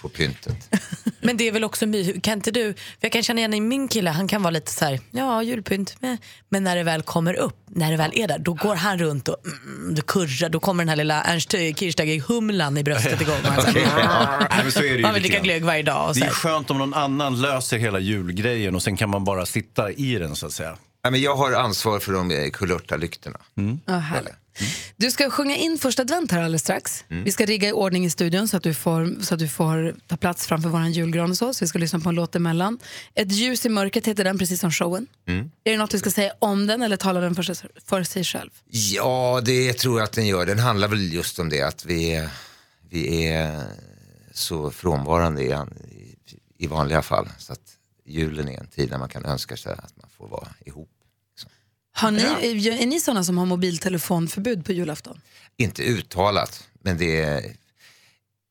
[SPEAKER 19] på pyntet.
[SPEAKER 3] Men det är väl också mysigt. Kan inte du, för jag kan känna igen i min kille, han kan vara lite så här, ja julpynt, meh." men när det väl kommer upp, när det väl är där, då går han runt och mm, det kurrar, då kommer den här lilla Ernst Kirchsteiger-humlan i bröstet igång. Och han så här,
[SPEAKER 2] Okej, ja. Nej, men så är det ju
[SPEAKER 3] man vill
[SPEAKER 2] lite
[SPEAKER 3] dricka
[SPEAKER 2] grann.
[SPEAKER 3] glögg varje dag. Och så
[SPEAKER 2] Det är
[SPEAKER 3] här.
[SPEAKER 2] skönt om någon annan löser hela julgrejen och sen kan man bara sitta i den så att säga.
[SPEAKER 19] Ja, men jag har ansvar för de eh, kulörta lyktorna.
[SPEAKER 1] Ja, härligt.
[SPEAKER 2] Mm.
[SPEAKER 1] Du ska sjunga in första advent här alldeles strax. Vi ska rigga i ordning i studion så att du får, så att du får ta plats framför vår julgran och så. Så vi ska lyssna på en låt emellan. Ett ljus i mörkret heter den, precis som showen.
[SPEAKER 2] Mm.
[SPEAKER 1] Är det något vi ska säga om den eller talar den för sig, för sig själv?
[SPEAKER 19] Ja, det tror jag att den gör. Den handlar väl just om det att vi är, vi är så frånvarande är han i, i vanliga fall. Så att julen är en tid när man kan önska sig att man får vara ihop.
[SPEAKER 1] Har ni,
[SPEAKER 18] eh,
[SPEAKER 1] är, är ni sådana som har mobiltelefonförbud på julafton?
[SPEAKER 19] Inte uttalat, men det är,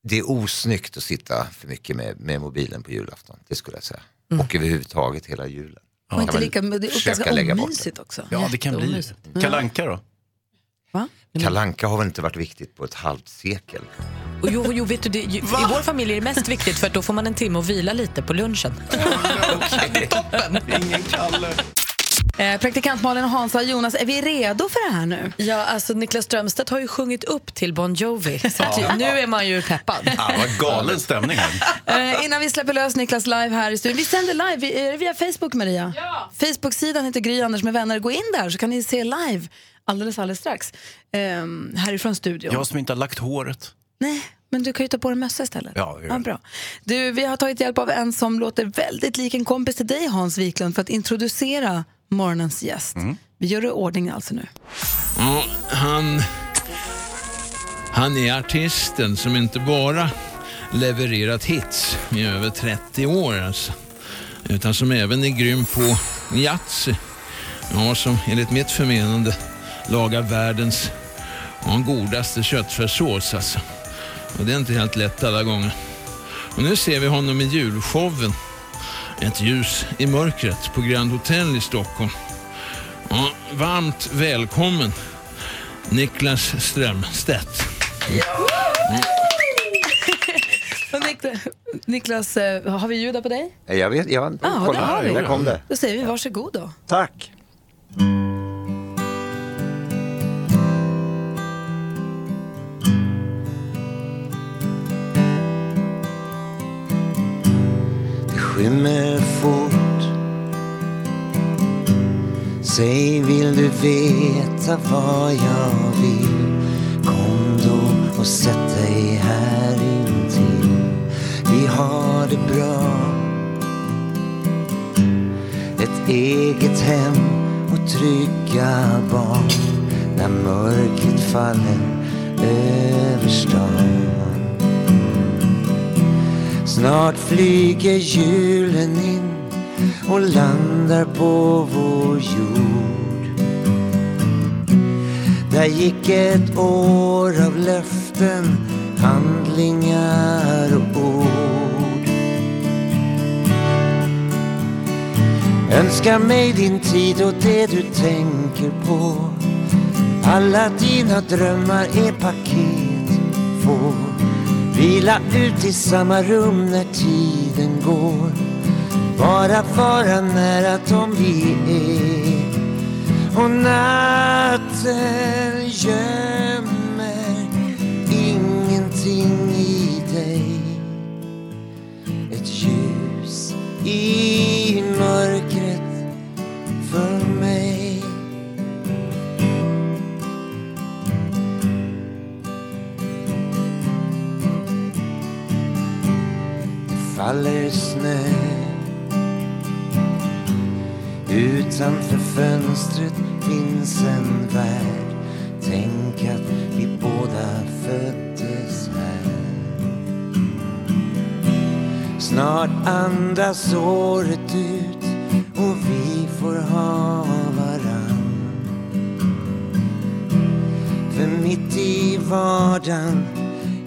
[SPEAKER 19] det är osnyggt att sitta för mycket med, med mobilen på julafton. Det skulle jag säga. Och överhuvudtaget hela julen.
[SPEAKER 1] Mm. Och inte
[SPEAKER 19] man
[SPEAKER 1] lika, det är
[SPEAKER 19] försöka
[SPEAKER 1] ganska
[SPEAKER 19] lägga bort
[SPEAKER 1] omysigt också.
[SPEAKER 2] Ja, det kan bli.
[SPEAKER 1] Jätteomysigt.
[SPEAKER 2] Kalanka då?
[SPEAKER 19] Kalanka har väl inte varit viktigt på ett halvt sekel?
[SPEAKER 3] Och jo, jo, vet du, det, ju, I vår familj är det mest viktigt för att då får man en timme och vila lite på lunchen.
[SPEAKER 2] Ingen Kalle.
[SPEAKER 18] Eh, praktikant Malin och Hansa och Jonas, är vi redo för det här nu?
[SPEAKER 3] Ja, alltså Niklas Strömstedt har ju sjungit upp till Bon Jovi. Så att
[SPEAKER 2] Ja.
[SPEAKER 3] ju, nu är man ju peppad.
[SPEAKER 2] Ah, vad galen stämning här.
[SPEAKER 18] Eh, innan vi släpper lös Niklas live här i studion. Vi sänder live vi, är det via Facebook, Maria. Ja. Facebook-sidan heter Gry Anders med vänner. Gå in där så kan ni se live alldeles, alldeles strax. Ehm, härifrån studion.
[SPEAKER 2] Jag som inte har lagt håret.
[SPEAKER 18] Nej, men du kan ju ta på dig mössa istället.
[SPEAKER 2] Ja, det gör
[SPEAKER 18] Ja,
[SPEAKER 2] jag.
[SPEAKER 18] bra. Du, vi har tagit hjälp av en som låter väldigt lik en kompis till dig, Hans Wiklund, för att introducera morgonens gäst.
[SPEAKER 2] Mm.
[SPEAKER 18] Vi gör det i ordning alltså nu.
[SPEAKER 20] Ja, han, han är artisten som inte bara levererat hits i över 30 år alltså, utan som även är grym på Yatzy. Ja, som enligt mitt förmenande lagar världens ja, godaste köttfärssås alltså. Och det är inte helt lätt alla gånger. Och nu ser vi honom i julshowen. Ett ljus i mörkret på Grand Hotel i Stockholm. Ja, varmt välkommen, Niklas Strömstedt.
[SPEAKER 18] Och Niklas, Niklas, eh, har vi ljud där på dig?
[SPEAKER 19] Jag vet, jag har inte
[SPEAKER 18] Ja, det
[SPEAKER 19] kollat.
[SPEAKER 18] Ah, har vi.
[SPEAKER 19] Där kom det.
[SPEAKER 18] Då säger vi varsågod då.
[SPEAKER 21] Tack.
[SPEAKER 22] Det skymmer fort Säg, vill du veta vad jag vill? Kom då och sätt dig här intill Vi har det bra Ett eget hem och trygga barn När mörkret faller över stan Snart flyger julen in och landar på vår jord. Där gick ett år av löften, handlingar och ord. Önska mig din tid och det du tänker på. Alla dina drömmar är paket, får Vila ut i samma rum när tiden går. Bara vara nära dem vi är. Och natten gömmer ingenting i dig. Mm. Ett ljus i mörkret för mig. faller snö Utanför fönstret finns en värld Tänk att vi båda föddes här Snart andas året ut och vi får ha varann För mitt i vardagen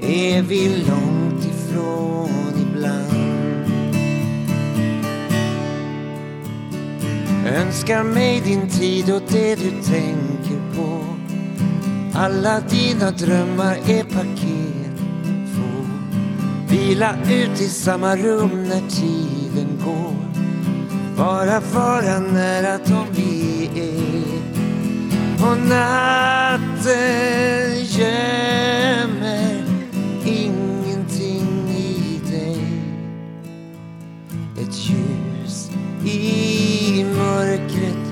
[SPEAKER 22] är vi långt ifrån ibland. Önskar mig din tid och det du tänker på. Alla dina drömmar är paket. Få vila ut i samma rum när tiden går. Bara vara nära dem vi är. Och natten gömmer ingenting i dig. Ett ljus i mörkret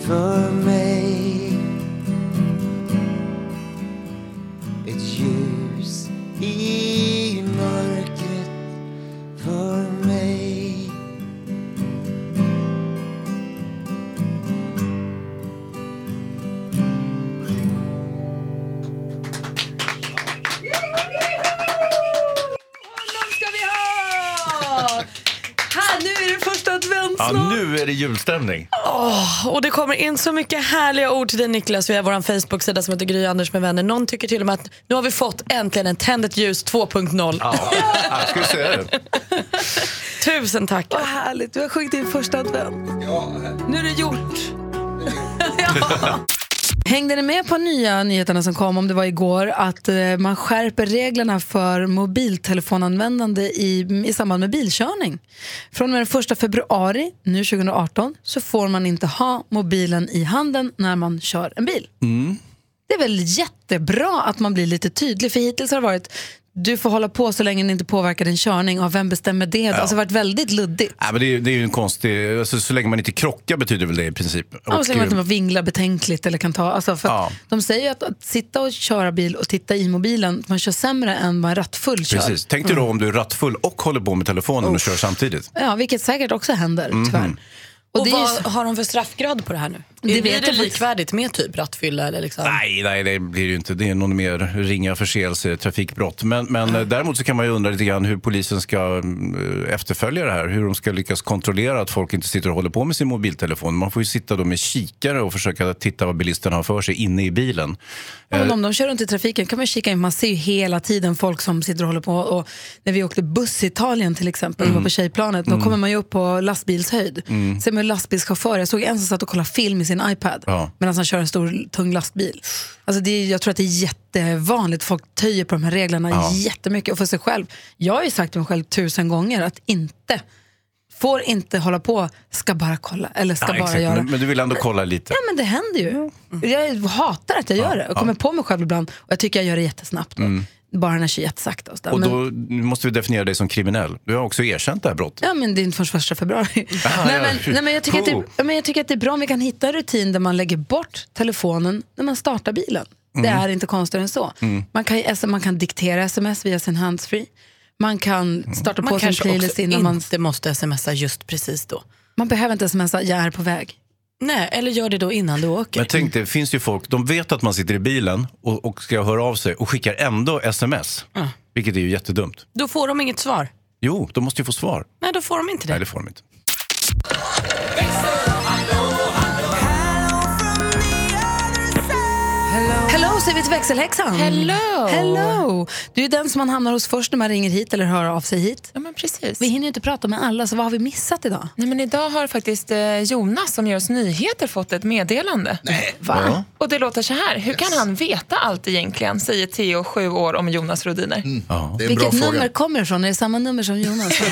[SPEAKER 22] för mig. Ett ljus i mörkret för mig.
[SPEAKER 3] Här, nu är det första advent
[SPEAKER 2] Ja, nu är det julstämning.
[SPEAKER 3] Åh, och det kommer in så mycket härliga ord till dig Niklas via vår Facebook-sida som heter Gry Anders med vänner. Någon tycker till och med att nu har vi fått äntligen en Tänd ett ljus 2.0.
[SPEAKER 2] Ja, ska vi säga det?
[SPEAKER 3] Tusen tack.
[SPEAKER 17] Vad härligt, du har sjungit din första advent. Nu är det gjort.
[SPEAKER 1] Hängde ni med på nya nyheterna som kom, om det var igår, att eh, man skärper reglerna för mobiltelefonanvändande i, i samband med bilkörning? Från och med den 1 februari nu 2018 så får man inte ha mobilen i handen när man kör en bil. Det är väl jättebra att man blir lite tydlig, för hittills har det varit du får hålla på så länge det inte påverkar din körning. Och vem bestämmer det? Ja. Alltså, det har varit väldigt luddigt.
[SPEAKER 2] Nej, men det, är, det är ju en konstig... Alltså, så länge man inte krockar betyder väl det i princip.
[SPEAKER 1] Och, och så länge man
[SPEAKER 2] eh,
[SPEAKER 1] inte vinglar betänkligt eller kan ta... Alltså för att
[SPEAKER 2] Ja.
[SPEAKER 1] De säger ju att, att sitta och köra bil och titta i mobilen, man kör sämre än vad en rattfull kör.
[SPEAKER 2] Precis. Tänk dig då om du är rattfull och håller på med telefonen och kör samtidigt.
[SPEAKER 1] Ja, vilket säkert också händer,
[SPEAKER 2] Mhm.
[SPEAKER 1] tyvärr.
[SPEAKER 3] Och,
[SPEAKER 1] det är ju
[SPEAKER 3] vad
[SPEAKER 1] så-
[SPEAKER 3] har de för straffgrad på det här nu?
[SPEAKER 1] Det
[SPEAKER 3] Det
[SPEAKER 1] vet
[SPEAKER 3] Blir
[SPEAKER 1] jag
[SPEAKER 3] det
[SPEAKER 1] faktiskt.
[SPEAKER 3] likvärdigt med typ rattfylla? Eller liksom?
[SPEAKER 2] Nej, nej, det blir det ju inte. Det är någon mer ringa förseelse, trafikbrott. Men, men eh, däremot så kan man ju undra lite grann hur polisen ska mm, eh, efterfölja det här. Hur de ska lyckas kontrollera att folk inte sitter och håller på med sin mobiltelefon. Man får ju sitta då med kikare och försöka titta vad bilisterna har för sig inne i bilen.
[SPEAKER 1] Ja, men
[SPEAKER 2] Eh,
[SPEAKER 1] om de kör runt i trafiken kan man ju kika in. Man ser ju hela tiden folk som sitter och håller på. Och när vi åkte buss i Italien till exempel, mm. var på tjejplanet, då
[SPEAKER 2] Mm.
[SPEAKER 1] kommer man ju upp på lastbilshöjd.
[SPEAKER 2] Mm.
[SPEAKER 1] Ser man ju lastbilschaufförer. Jag såg en som satt och kollade film i sin iPad
[SPEAKER 2] Ja.
[SPEAKER 1] medan han kör en stor tung lastbil. Alltså det är, jag tror att det är jättevanligt. Folk töjer på de här reglerna
[SPEAKER 2] Ja.
[SPEAKER 1] jättemycket. Och för sig själv. Jag har ju sagt till mig själv tusen gånger att inte, får inte hålla på, ska bara kolla eller ska
[SPEAKER 2] ja,
[SPEAKER 1] bara
[SPEAKER 2] exakt.
[SPEAKER 1] göra.
[SPEAKER 2] Men, men du vill ändå kolla lite.
[SPEAKER 1] Ja, men det händer ju. Mm. Jag hatar att jag gör det. Jag kommer på mig själv ibland och jag tycker jag gör det jättesnabbt.
[SPEAKER 2] Mm.
[SPEAKER 1] Bara när jag kör jättesakta och, sådär.
[SPEAKER 2] Och
[SPEAKER 1] men,
[SPEAKER 2] då måste vi definiera dig som kriminell. Du har också erkänt det här brottet.
[SPEAKER 1] Ja, men det är inte förrän första februari.
[SPEAKER 2] Ah,
[SPEAKER 1] nej,
[SPEAKER 2] ja.
[SPEAKER 1] men, nej, men jag, tycker att det,
[SPEAKER 2] Puh.
[SPEAKER 1] ja, men jag tycker att det är bra om vi kan hitta en rutin där man lägger bort telefonen när man startar bilen. Det
[SPEAKER 17] Mm.
[SPEAKER 1] är inte konstigare än så.
[SPEAKER 17] Mm.
[SPEAKER 1] Man, kan, ju- alltså, man kan diktera sms via sin handsfree. Man kan starta
[SPEAKER 3] Man
[SPEAKER 1] på sin
[SPEAKER 3] kanske
[SPEAKER 1] playlist
[SPEAKER 3] också
[SPEAKER 1] innan man...
[SPEAKER 3] inte måste smsa just precis då.
[SPEAKER 1] Man behöver inte smsa, jag är på väg.
[SPEAKER 3] Nej, eller gör det då innan du åker.
[SPEAKER 2] Men tänk det finns ju folk, de vet att man sitter i bilen och, och ska höra av sig och skickar ändå sms.
[SPEAKER 3] Ja.
[SPEAKER 2] Vilket är ju jättedumt.
[SPEAKER 3] Då får de inget svar.
[SPEAKER 2] Jo, de måste ju få svar.
[SPEAKER 3] Nej, då får de inte det.
[SPEAKER 2] Nej, det får de inte.
[SPEAKER 1] Hello säger vi till växelhäxan.
[SPEAKER 17] Hello.
[SPEAKER 1] Hello! Du är den som man hamnar hos först när man ringer hit eller hör av sig hit.
[SPEAKER 17] Ja, men precis.
[SPEAKER 1] Vi hinner ju inte prata med alla, så vad har vi missat idag?
[SPEAKER 17] Nej, men idag har faktiskt eh, Jonas som gör oss nyheter fått ett meddelande. Nej,
[SPEAKER 1] Va? Ja.
[SPEAKER 17] Och det låter så här. Hur kan han veta allt egentligen? Säger Theo, sju år, om Jonas Rodiner.
[SPEAKER 6] Mm.
[SPEAKER 2] Ja.
[SPEAKER 1] Vilket nummer kommer det ifrån? Är det samma nummer som Jonas?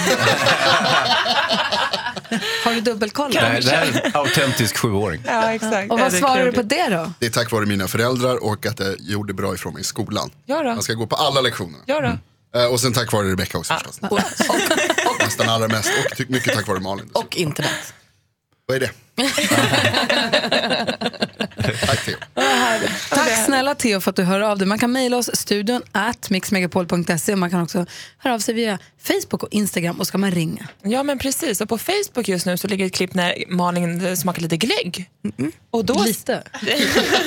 [SPEAKER 1] har du dubbelkollat?
[SPEAKER 2] Nej, det här är en autentisk sjuåring.
[SPEAKER 17] Ja, exakt.
[SPEAKER 1] Och
[SPEAKER 17] Ja,
[SPEAKER 1] vad
[SPEAKER 17] det är
[SPEAKER 1] svarar du på
[SPEAKER 17] klurigt.
[SPEAKER 1] det då?
[SPEAKER 6] Det är tack vare mina föräldrar och att jag gjorde bra ifrån mig i skolan.
[SPEAKER 17] Ja då.
[SPEAKER 6] Man ska gå på alla lektioner.
[SPEAKER 17] Ja
[SPEAKER 11] Mm.
[SPEAKER 17] då.
[SPEAKER 6] Eh, Och sen tack vare Rebecca också förstås. Nästan allra mest och ty- mycket tack vare Malin.
[SPEAKER 3] Och internet.
[SPEAKER 6] Vad är det? tack Theo.
[SPEAKER 1] Tack snälla Theo för att du hör av dig. Man kan mejla oss studion at mixmegapol.se och man kan också höra av sig via Facebook och Instagram och ska man ringa.
[SPEAKER 17] Ja, men precis. Och på Facebook just nu så ligger ett klipp när Malin eh, smakar lite glögg. Och då...
[SPEAKER 1] Lite?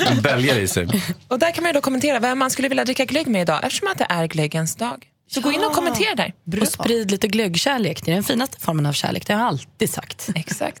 [SPEAKER 2] En bälgare i sig.
[SPEAKER 17] Och där kan man ju då kommentera vem man skulle vilja dricka glögg med idag eftersom att det är glöggens dag. Så gå in och kommentera där.
[SPEAKER 3] Och sprid lite glöggkärlek. Det är den finaste formen av kärlek. Det har jag alltid sagt.
[SPEAKER 17] Exakt.